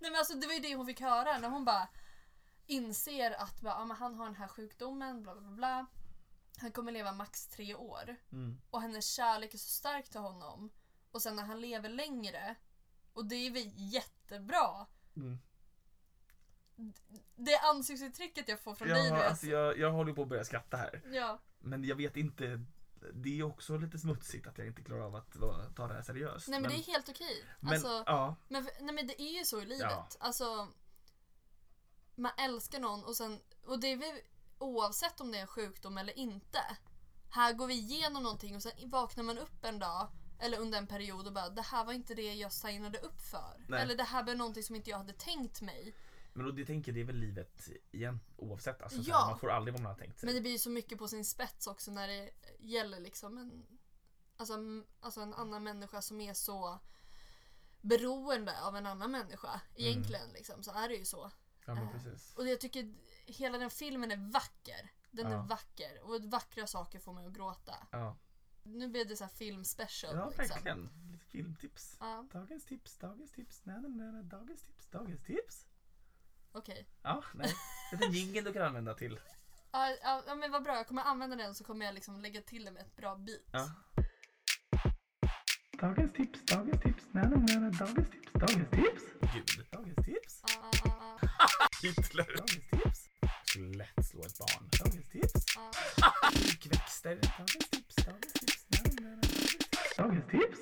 Nej men alltså det var ju det hon fick höra när hon bara inser att bara, ah, men han har den här sjukdomen, bla bla bla, bla. Han kommer leva max tre år. Mm. Och hennes kärlek är så stark till honom. Och sen när han lever längre, och det är väl jättebra. Mm. Det ansiktsuttrycket jag får från dig Jag, nu. har- är alltså, jag, jag håller på att börja skratta här. så- Ja, Men jag vet inte. Det är också lite smutsigt att jag inte klarar av att vara- ta det här seriöst. nej men det är helt okej. men, Alltså, ja, Men, för- nej men det är ju så i livet. Ja. Alltså, man älskar någon och sen, och det är väl oavsett om det är en sjukdom eller inte. Här går vi igenom någonting och sen vaknar man upp en dag eller under en period och bara det här var inte det jag signade upp för. Nej. Eller det här var någonting som inte jag hade tänkt mig. men då, det tänker jag, det är väl livet igen, oavsett. Alltså, så Ja. här, man får aldrig vad man har tänkt sig. Men det blir ju så mycket på sin spets också när det gäller liksom en, alltså, m- alltså en annan människa som är så beroende av en annan Mm. människa. Egentligen liksom, så är det ju så. ja, men äh, precis. Och jag tycker hela den filmen är vacker. Den Ja. är vacker och vackra saker får mig att gråta. Ja, Nu blev det så här filmspecial. ja liksom. verkligen. Lite filmtips. Ja, Dagens tips, dagens tips, nej, nej, nej, nej, dagens tips, dagens tips. okej. Ja, nej. Det är en jingel du kan använda till. Ja, ja, ja, men vad bra. Jag kommer använda den så kommer jag liksom lägga till den med ett bra beat. Ja. Dagens tips, dagens tips, nej, nej, nej, nej, dagens tips, dagens tips. Gud, dagens tips. Ah, ah, ah, Hitler. Dagens tips. Skulle lätt slå ett barn. Dagens tips. ah. Kväxter. Dagens tips. Dagens tips. Dagens tips.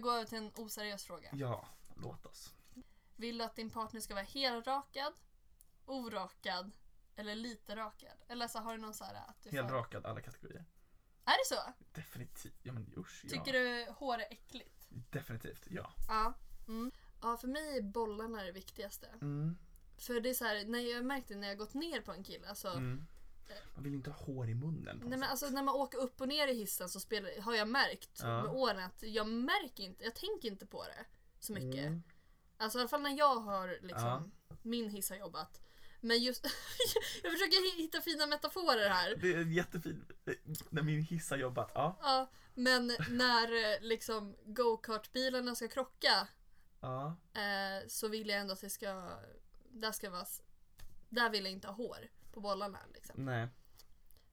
gå över till en oseriös fråga. Ja, låt oss. Vill du att din partner ska vara helrakad, orakad eller lite rakad? Eller så har du någon så här att du får... Helrakad alla kategorier. Är det så? Definitivt. Ja men usch ja. Tycker du hår är äckligt? Definitivt ja. Ja. Mm. Ja, för mig är bollarna det viktigaste. Mm. För det är så här, när jag har märkt det när jag gått ner på en kille, alltså, Mm. Man vill ju inte ha hår i munnen. På nej, men något alltså när man åker upp och ner i hissen så spelar, har jag märkt Ja. med åren att jag märker inte, jag tänker inte på det så sätt. mycket. Mm. Alltså i alla fall när jag har liksom, min hiss har jobbat. Men just, jag försöker hi- hitta fina metaforer här. Det är en jättefin. När min hiss har jobbat. Ja. Ja, men när eh, liksom go-kartbilarna ska krocka ja. eh, så vill jag ändå att det ska, där ska vara, s- där vill jag inte ha hår på bollarna liksom. Nej.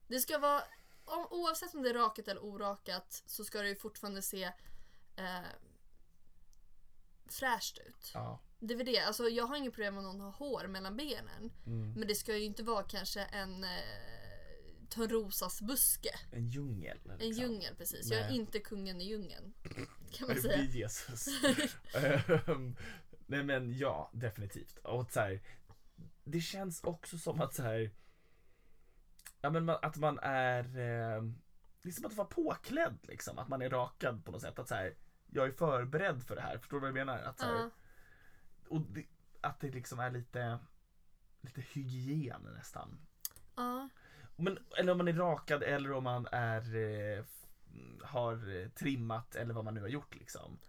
Det ska vara, om, oavsett om det är rakat eller orakat så ska det ju fortfarande se eh, fräscht ut. Ja. Det är väl det, alltså jag har inget problem om någon har hår mellan benen. Mm. Men det ska ju inte vara kanske en eh, Törnrosas buske. En djungel. En liksom. djungel precis. Jag är Nej. inte kungen i djungeln. Ja, Kan man Det blir säga. Jesus. Ehm, Nej men ja, definitivt. Och så här, det känns också som att så här, ja, men man, att man är eh, liksom att vara påklädd liksom. Att man är rakad på något sätt. Att så här, jag är förberedd för det här. Förstår du vad jag menar? Att, så här, Ja. och det, att det liksom är lite, lite hygien nästan. Ja. Men, eller om man är rakad eller om man är, eh, f- har eh, trimmat eller vad man nu har gjort liksom.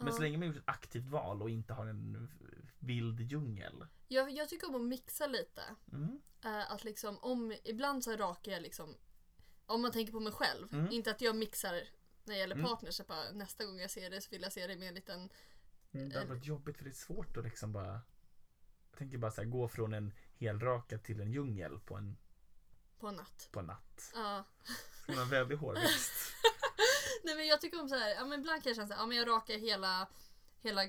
Men så Ja. länge man gjort ett aktivt val och inte har en eh, vild djungel. Jag, jag tycker om att mixa lite. Mm. Eh, att liksom om, ibland så rakar jag liksom, om man tänker på mig själv. Mm. Inte att jag mixar när det gäller Mm. partners. att Bara, nästa gång jag ser det så vill jag se det med en liten... Det hade varit jobbigt för det är svårt att liksom bara jag tänker bara så här, gå från en helrakad till en djungel på en, på en natt. på en natt. Ja. Ska man ha en väldig hårväxt? Nej men jag tycker om så här, ja men ibland kan jag känna såhär, ja men jag rakar hela, hela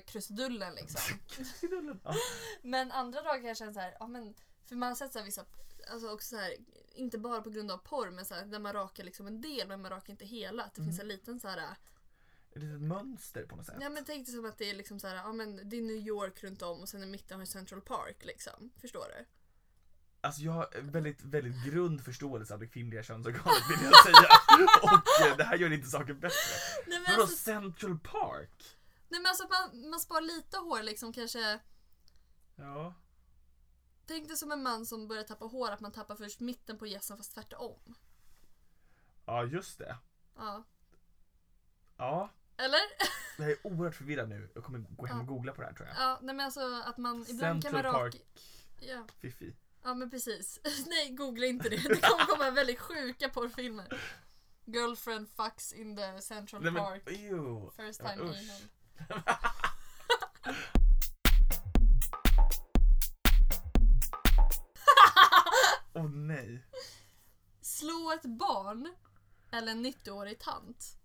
krusidullen liksom. Sidullen. ja. Men andra dagar kan jag känna så här, ja men för man har sett så här vissa, alltså också så här, inte bara på grund av porr men så här, där man rakar liksom en del men man rakar inte hela. Att det finns en Mm. liten så här, Ett litet mönster på något sätt. ja men tänk dig som att det är liksom så här, ja men det är New York runt om och sen i mitten har du Central Park liksom. Förstår du? Alltså jag har väldigt, väldigt grund förståelse av det kvinnliga könsorganet vill jag säga. Och eh, det här gör inte saken bättre. Nej men Vadå alltså, Central Park? nej, men alltså att man, man sparar lite hår liksom kanske, Ja. tänk dig som en man som börjar tappa hår att man tappar först mitten på gässan fast tvärtom. Ja, just det. Ja. Ja. Eller? Jag är oerhört förvirrad nu. Jag kommer gå hem och googla på det här tror jag. Ja, nej men alltså att man, ibland kan Central man raka... Park Ja. Fifi. Ja men precis. Nej, googla inte det. Det kommer komma väldigt sjuka porrfilmer. Girlfriend fucks in the central Nej men park. ew. First Nej, time men, usch. anal. Åh nej. Slå ett barn eller en 90-årig tant.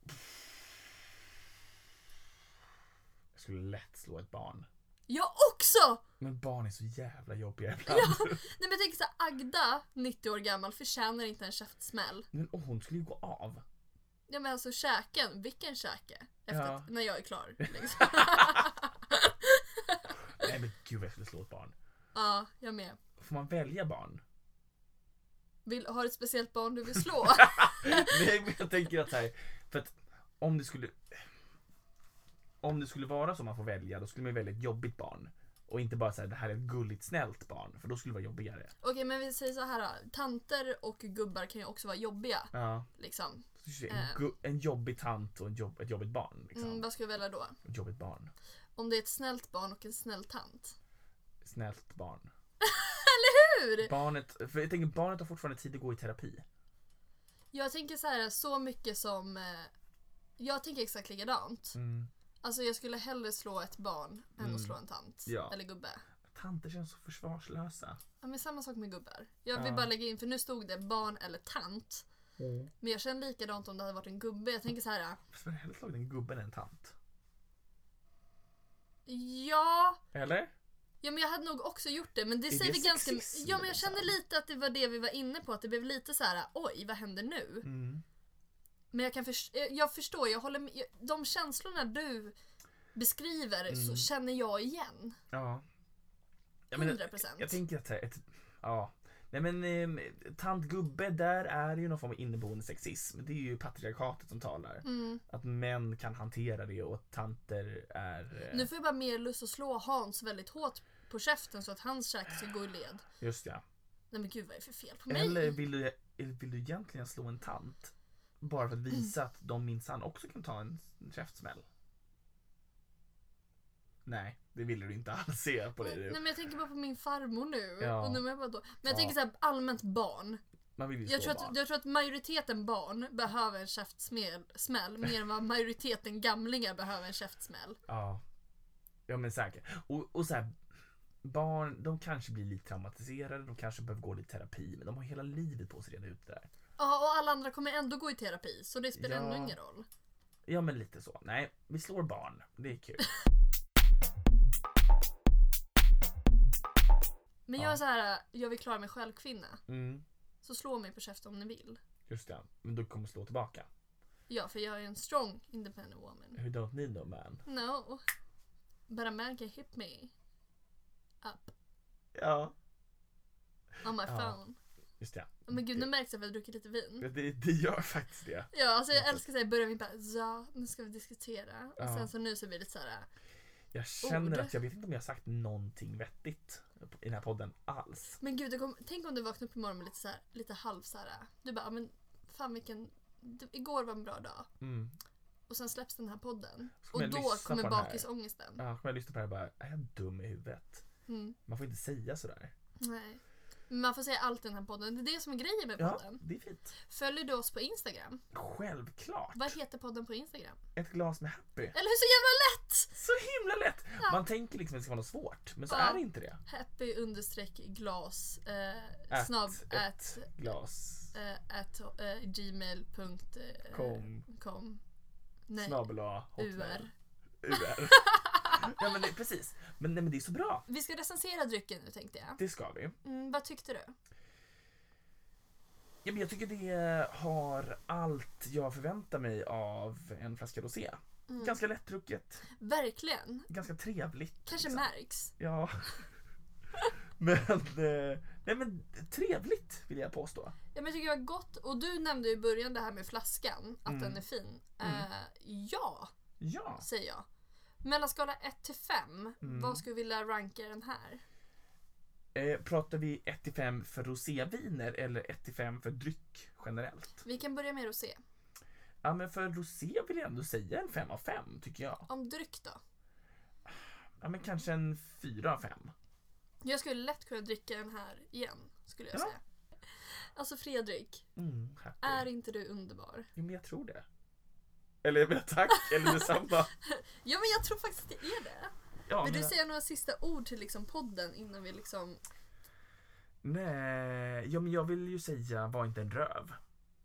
Jag skulle lätt slå ett barn. Jag också! Men barn är så jävla jobbiga ibland. Nej men jag tänker såhär, Agda, 90 år gammal, förtjänar inte en käftsmäll. Men åh, hon skulle ju gå av. Ja men alltså käken, vilken käke? Efter Ja. att, när jag är klar. Liksom. Nej men gud vad jag skulle slå ett barn. ja, jag med. Får man välja barn? Vill, har du ett speciellt barn du vill slå? Nej men jag tänker att så här, för att om det skulle Om det skulle vara så man får välja då skulle man ju välja ett jobbigt barn Och inte bara säga det här är ett gulligt snällt barn för då skulle det vara jobbigare Okej men vi säger så här. då. tanter och gubbar kan ju också vara jobbiga. Ja Liksom. så Eh. en, gu- en jobbig tant och en jobb, ett jobbigt barn liksom. Mm, vad ska vi välja då? Ett jobbigt barn Om det är ett snällt barn och en snäll tant. Snällt barn Hur? Barnet, för jag tänker barnet har fortfarande tid att gå i terapi Jag tänker så här, äh, så mycket som... Eh, jag tänker exakt likadant. mm. Alltså jag skulle hellre slå ett barn än Mm. att slå en tant. Ja. Eller gubbe. Tanter känns så försvarslösa Ja, men samma sak med gubbar. Jag vill Ja. bara lägga in, för nu stod det barn eller tant. mm. Men jag känner likadant om det hade varit en gubbe. Jag tänker så här. Jag skulle hellre slagit en gubbe än en tant ja... Eller? Ja men jag hade nog också gjort det men det Är säger det vi ganska sexism, Ja men jag liksom? kände lite att det var det vi var inne på, att det blev lite så här: oj vad händer nu? Mm. eh, Men jag kan först- jag- jag förstår, jag håller med. Jag, de känslorna du beskriver så Mm. känner jag igen. Ja. Ja, men 100 jag, procent. jag tänker att så här, ett, ja. Nej men ehm, tant gubbe där är ju någon form av inneboende sexism. Det är ju patriarkatet som talar. Mm. Att män kan hantera det och att tanter är... eh, Nu får jag bara mer lust att slå Hans väldigt hårt på käften så att hans käke ska gå i led. Just ja. Nej men gud vad är det för fel på mig? Eller vill du, eller vill du egentligen slå en tant? Bara för att visa Mm. att de minsann också kan ta en käftsmäll. Nej, det ville du inte alls se på dig. Nej du. men jag tänker bara på min farmor nu. Ja. Och nu är jag bara då. Men jag Ja. tänker såhär allmänt barn. Man vill ju Jag slå tror, barn. att, jag tror att majoriteten barn behöver en käftsmäll smäll, mer än vad majoriteten gamlingar behöver en käftsmäll. Ja. Ja men säkert. Och, och så här, barn de kanske blir lite traumatiserade, de kanske behöver gå lite terapi men de har hela livet på sig att reda ut det där. Ja och alla andra kommer ändå gå i terapi så det spelar Ja. ändå ingen roll. Ja men lite så. Nej, vi slår barn. Det är kul. Men Ja. jag är så här, jag vill klara mig själv kvinna. Mm, Så slå mig på käften om ni vill. just det. Men du kommer slå tillbaka. Ja för jag är en strong independent woman. You don't need no man. No. But a man can hit me. Up. Ja. On my Ja. phone. Just det. Men gud nu märks det att vi har druckit lite vin. Det, det, det gör faktiskt det. Ja, alltså jag Precis. älskar såhär i början, vi bara ja, nu ska vi diskutera. Och Ja. sen så nu så blir det såhär, Jag känner Ord. att jag vet inte om jag har sagt någonting vettigt i den här podden alls. men gud, det kom, tänk om du vaknar upp imorgon med lite, såhär, lite halv såhär, du bara, men fan vilken, det, igår var en bra dag. Mm. Och sen släpps den här podden. Så kommer Och jag då lyssna kommer på den här. bakisångesten. Ja, kommer jag lyssna på det här och bara, är jag dum i huvudet? Mm. Man får inte säga sådär. Nej. Men man får säga allt i den här podden, det är det som är grejen med Ja, podden. det är fint. Följer du oss på Instagram? Självklart! Vad heter podden på Instagram? Ett glas med Happy. Eller hur så jävla lätt! Så himla lätt! Ja. Man tänker liksom att det ska vara något svårt, men så Ja. är det inte det. Happy understreck glas eh, At snabb ett at Glas. eh, at eh, gmail.com Kom. kom. Eh, Nej, Snabel och UR. UR. ja men det, precis. Men, nej, men det är så bra. Vi ska recensera drycken nu tänkte jag. Det ska vi. Mm, vad tyckte du? Ja, men jag tycker det har allt jag förväntar mig av en flaska rosé. Mm. Ganska lättdrucket, Verkligen. ganska trevligt. Kanske liksom. märks. Ja. men, eh, nej men trevligt vill jag påstå. Ja, men jag tycker det var gott. Och du nämnde ju i början det här med flaskan, att Mm. den är fin. Mm. Eh, ja, Ja. säger jag. Mellan skala 1 till 5, Mm. vad skulle du vilja ranka den här? Eh, pratar vi 1 till 5 för roséviner eller 1 till 5 för dryck generellt? Vi kan börja med rosé. Ja men för rosé vill jag ändå säga en 5 av 5 tycker jag. Om dryck då? Ja men kanske en 4 av 5. Jag skulle lätt kunna dricka den här igen, skulle jag Ja. säga. Alltså Fredrik, Mm, happy. är inte du underbar? Jo men jag tror det. Eller jag menar tack, eller detsamma. Ja men jag tror faktiskt att det är det. Ja, Vill men- du säga några sista ord till liksom podden innan vi liksom... Nej, ja, men jag vill ju säga var inte en röv.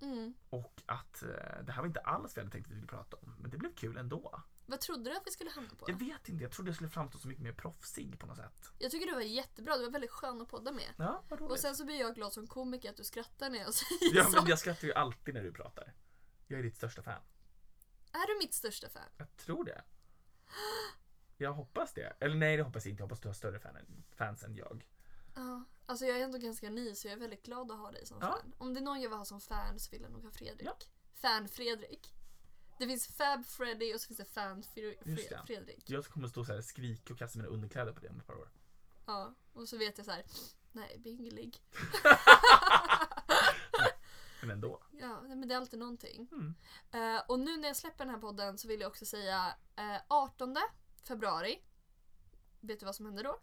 Mm. Och att eh, det här var inte alls vad jag hade tänkt att vi skulle prata om. Men det blev kul ändå. Vad trodde du att vi skulle hamna på? Jag vet inte, jag trodde jag skulle framstå så mycket mer proffsig på något sätt. Jag tycker du var jättebra, du var väldigt skön att podda med. Ja, vad roligt. Och sen så blir jag glad som komiker att du skrattar när jag säger ja, så. men jag skrattar ju alltid när du pratar. Jag är ditt största fan. Är du mitt största fan? Jag tror det. Jag hoppas det. Eller nej, det hoppas jag inte. Jag hoppas du har större fan än, fans än jag. Ja. Alltså jag är ändå ganska ny så jag är väldigt glad att ha dig som Ja. fan. Om det är någon jag vill ha som fan så vill jag nog ha Fredrik. Ja. Fan-Fredrik. Det finns Fab Freddy och så finns det Just det. Fan-Fredrik. Jag kommer stå så här skrika och kasta mina underkläder på dig om ett par år. Ja. Och så vet jag så här. nej, bingelig. Men ändå. Ja, nej, men det är alltid någonting. Mm. Eh, och nu när jag släpper den här podden så vill jag också säga eh, 18 februari. Vet du vad som händer då?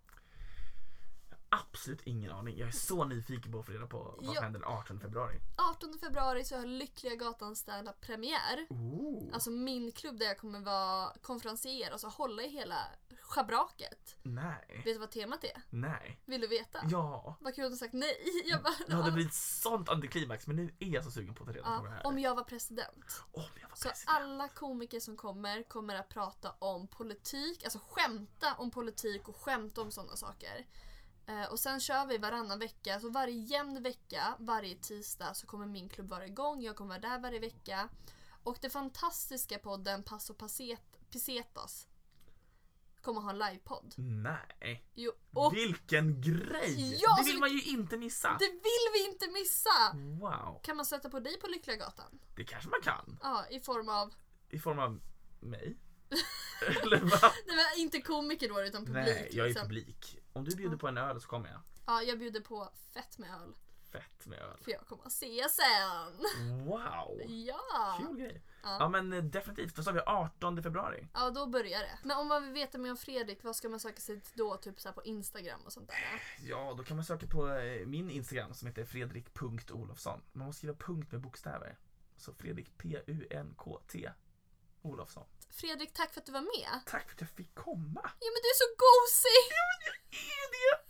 Absolut ingen aning. Jag är så nyfiken på att få reda på vad Ja. som händer den 18 februari. 18 februari så har Lyckliga Gatan standup premiär. Ooh. Alltså min klubb där jag kommer vara konferencier, alltså hålla i hela schabraket. nej. Vet du vad temat är? Nej. Vill du veta? Ja. Vad kul att du sagt nej. Jag bara, Det hade blivit sånt antiklimax men nu är jag så sugen på att ta reda på det ja, här. om jag var president. Om jag var Så president. alla komiker som kommer kommer att prata om politik, alltså skämta om politik och skämta om sådana saker. Eh, och sen kör vi varannan vecka, så varje jämn vecka, varje tisdag så kommer min klubb vara igång, jag kommer vara där varje vecka. Och det fantastiska podden Passo Paset, Pesetas kommer ha en livepodd. Nej. Jo, och Vilken grej! Ja, det så vill vi- man ju inte missa. det vill vi inte missa! Wow. Kan man sätta på dig på Lyckliga Gatan? Det kanske man kan. Ja, i form av, I form av mig. Eller vad? nej men inte komiker då utan publik. Nej, jag är liksom. publik. Om du bjuder på en öl så kommer jag. Ja, jag bjuder på fett med öl. Fett med öl. För jag kommer att se sen! Wow! Ja! Kul grej. Ja. Ja men eh, definitivt. Då sa vi 18 februari. Ja, då börjar det. Men om man vill veta mer om Fredrik, vad ska man söka sig till då? Typ så här på Instagram och sånt där? Ja, då kan man söka på eh, min Instagram som heter fredrik.olofsson. Man måste skriva punkt med bokstäver. Så Fredrik P-U-N-K-T Olofsson. Fredrik, tack för att du var med! Tack för att jag fick komma. Ja men du är så gosig! Är det? Ah!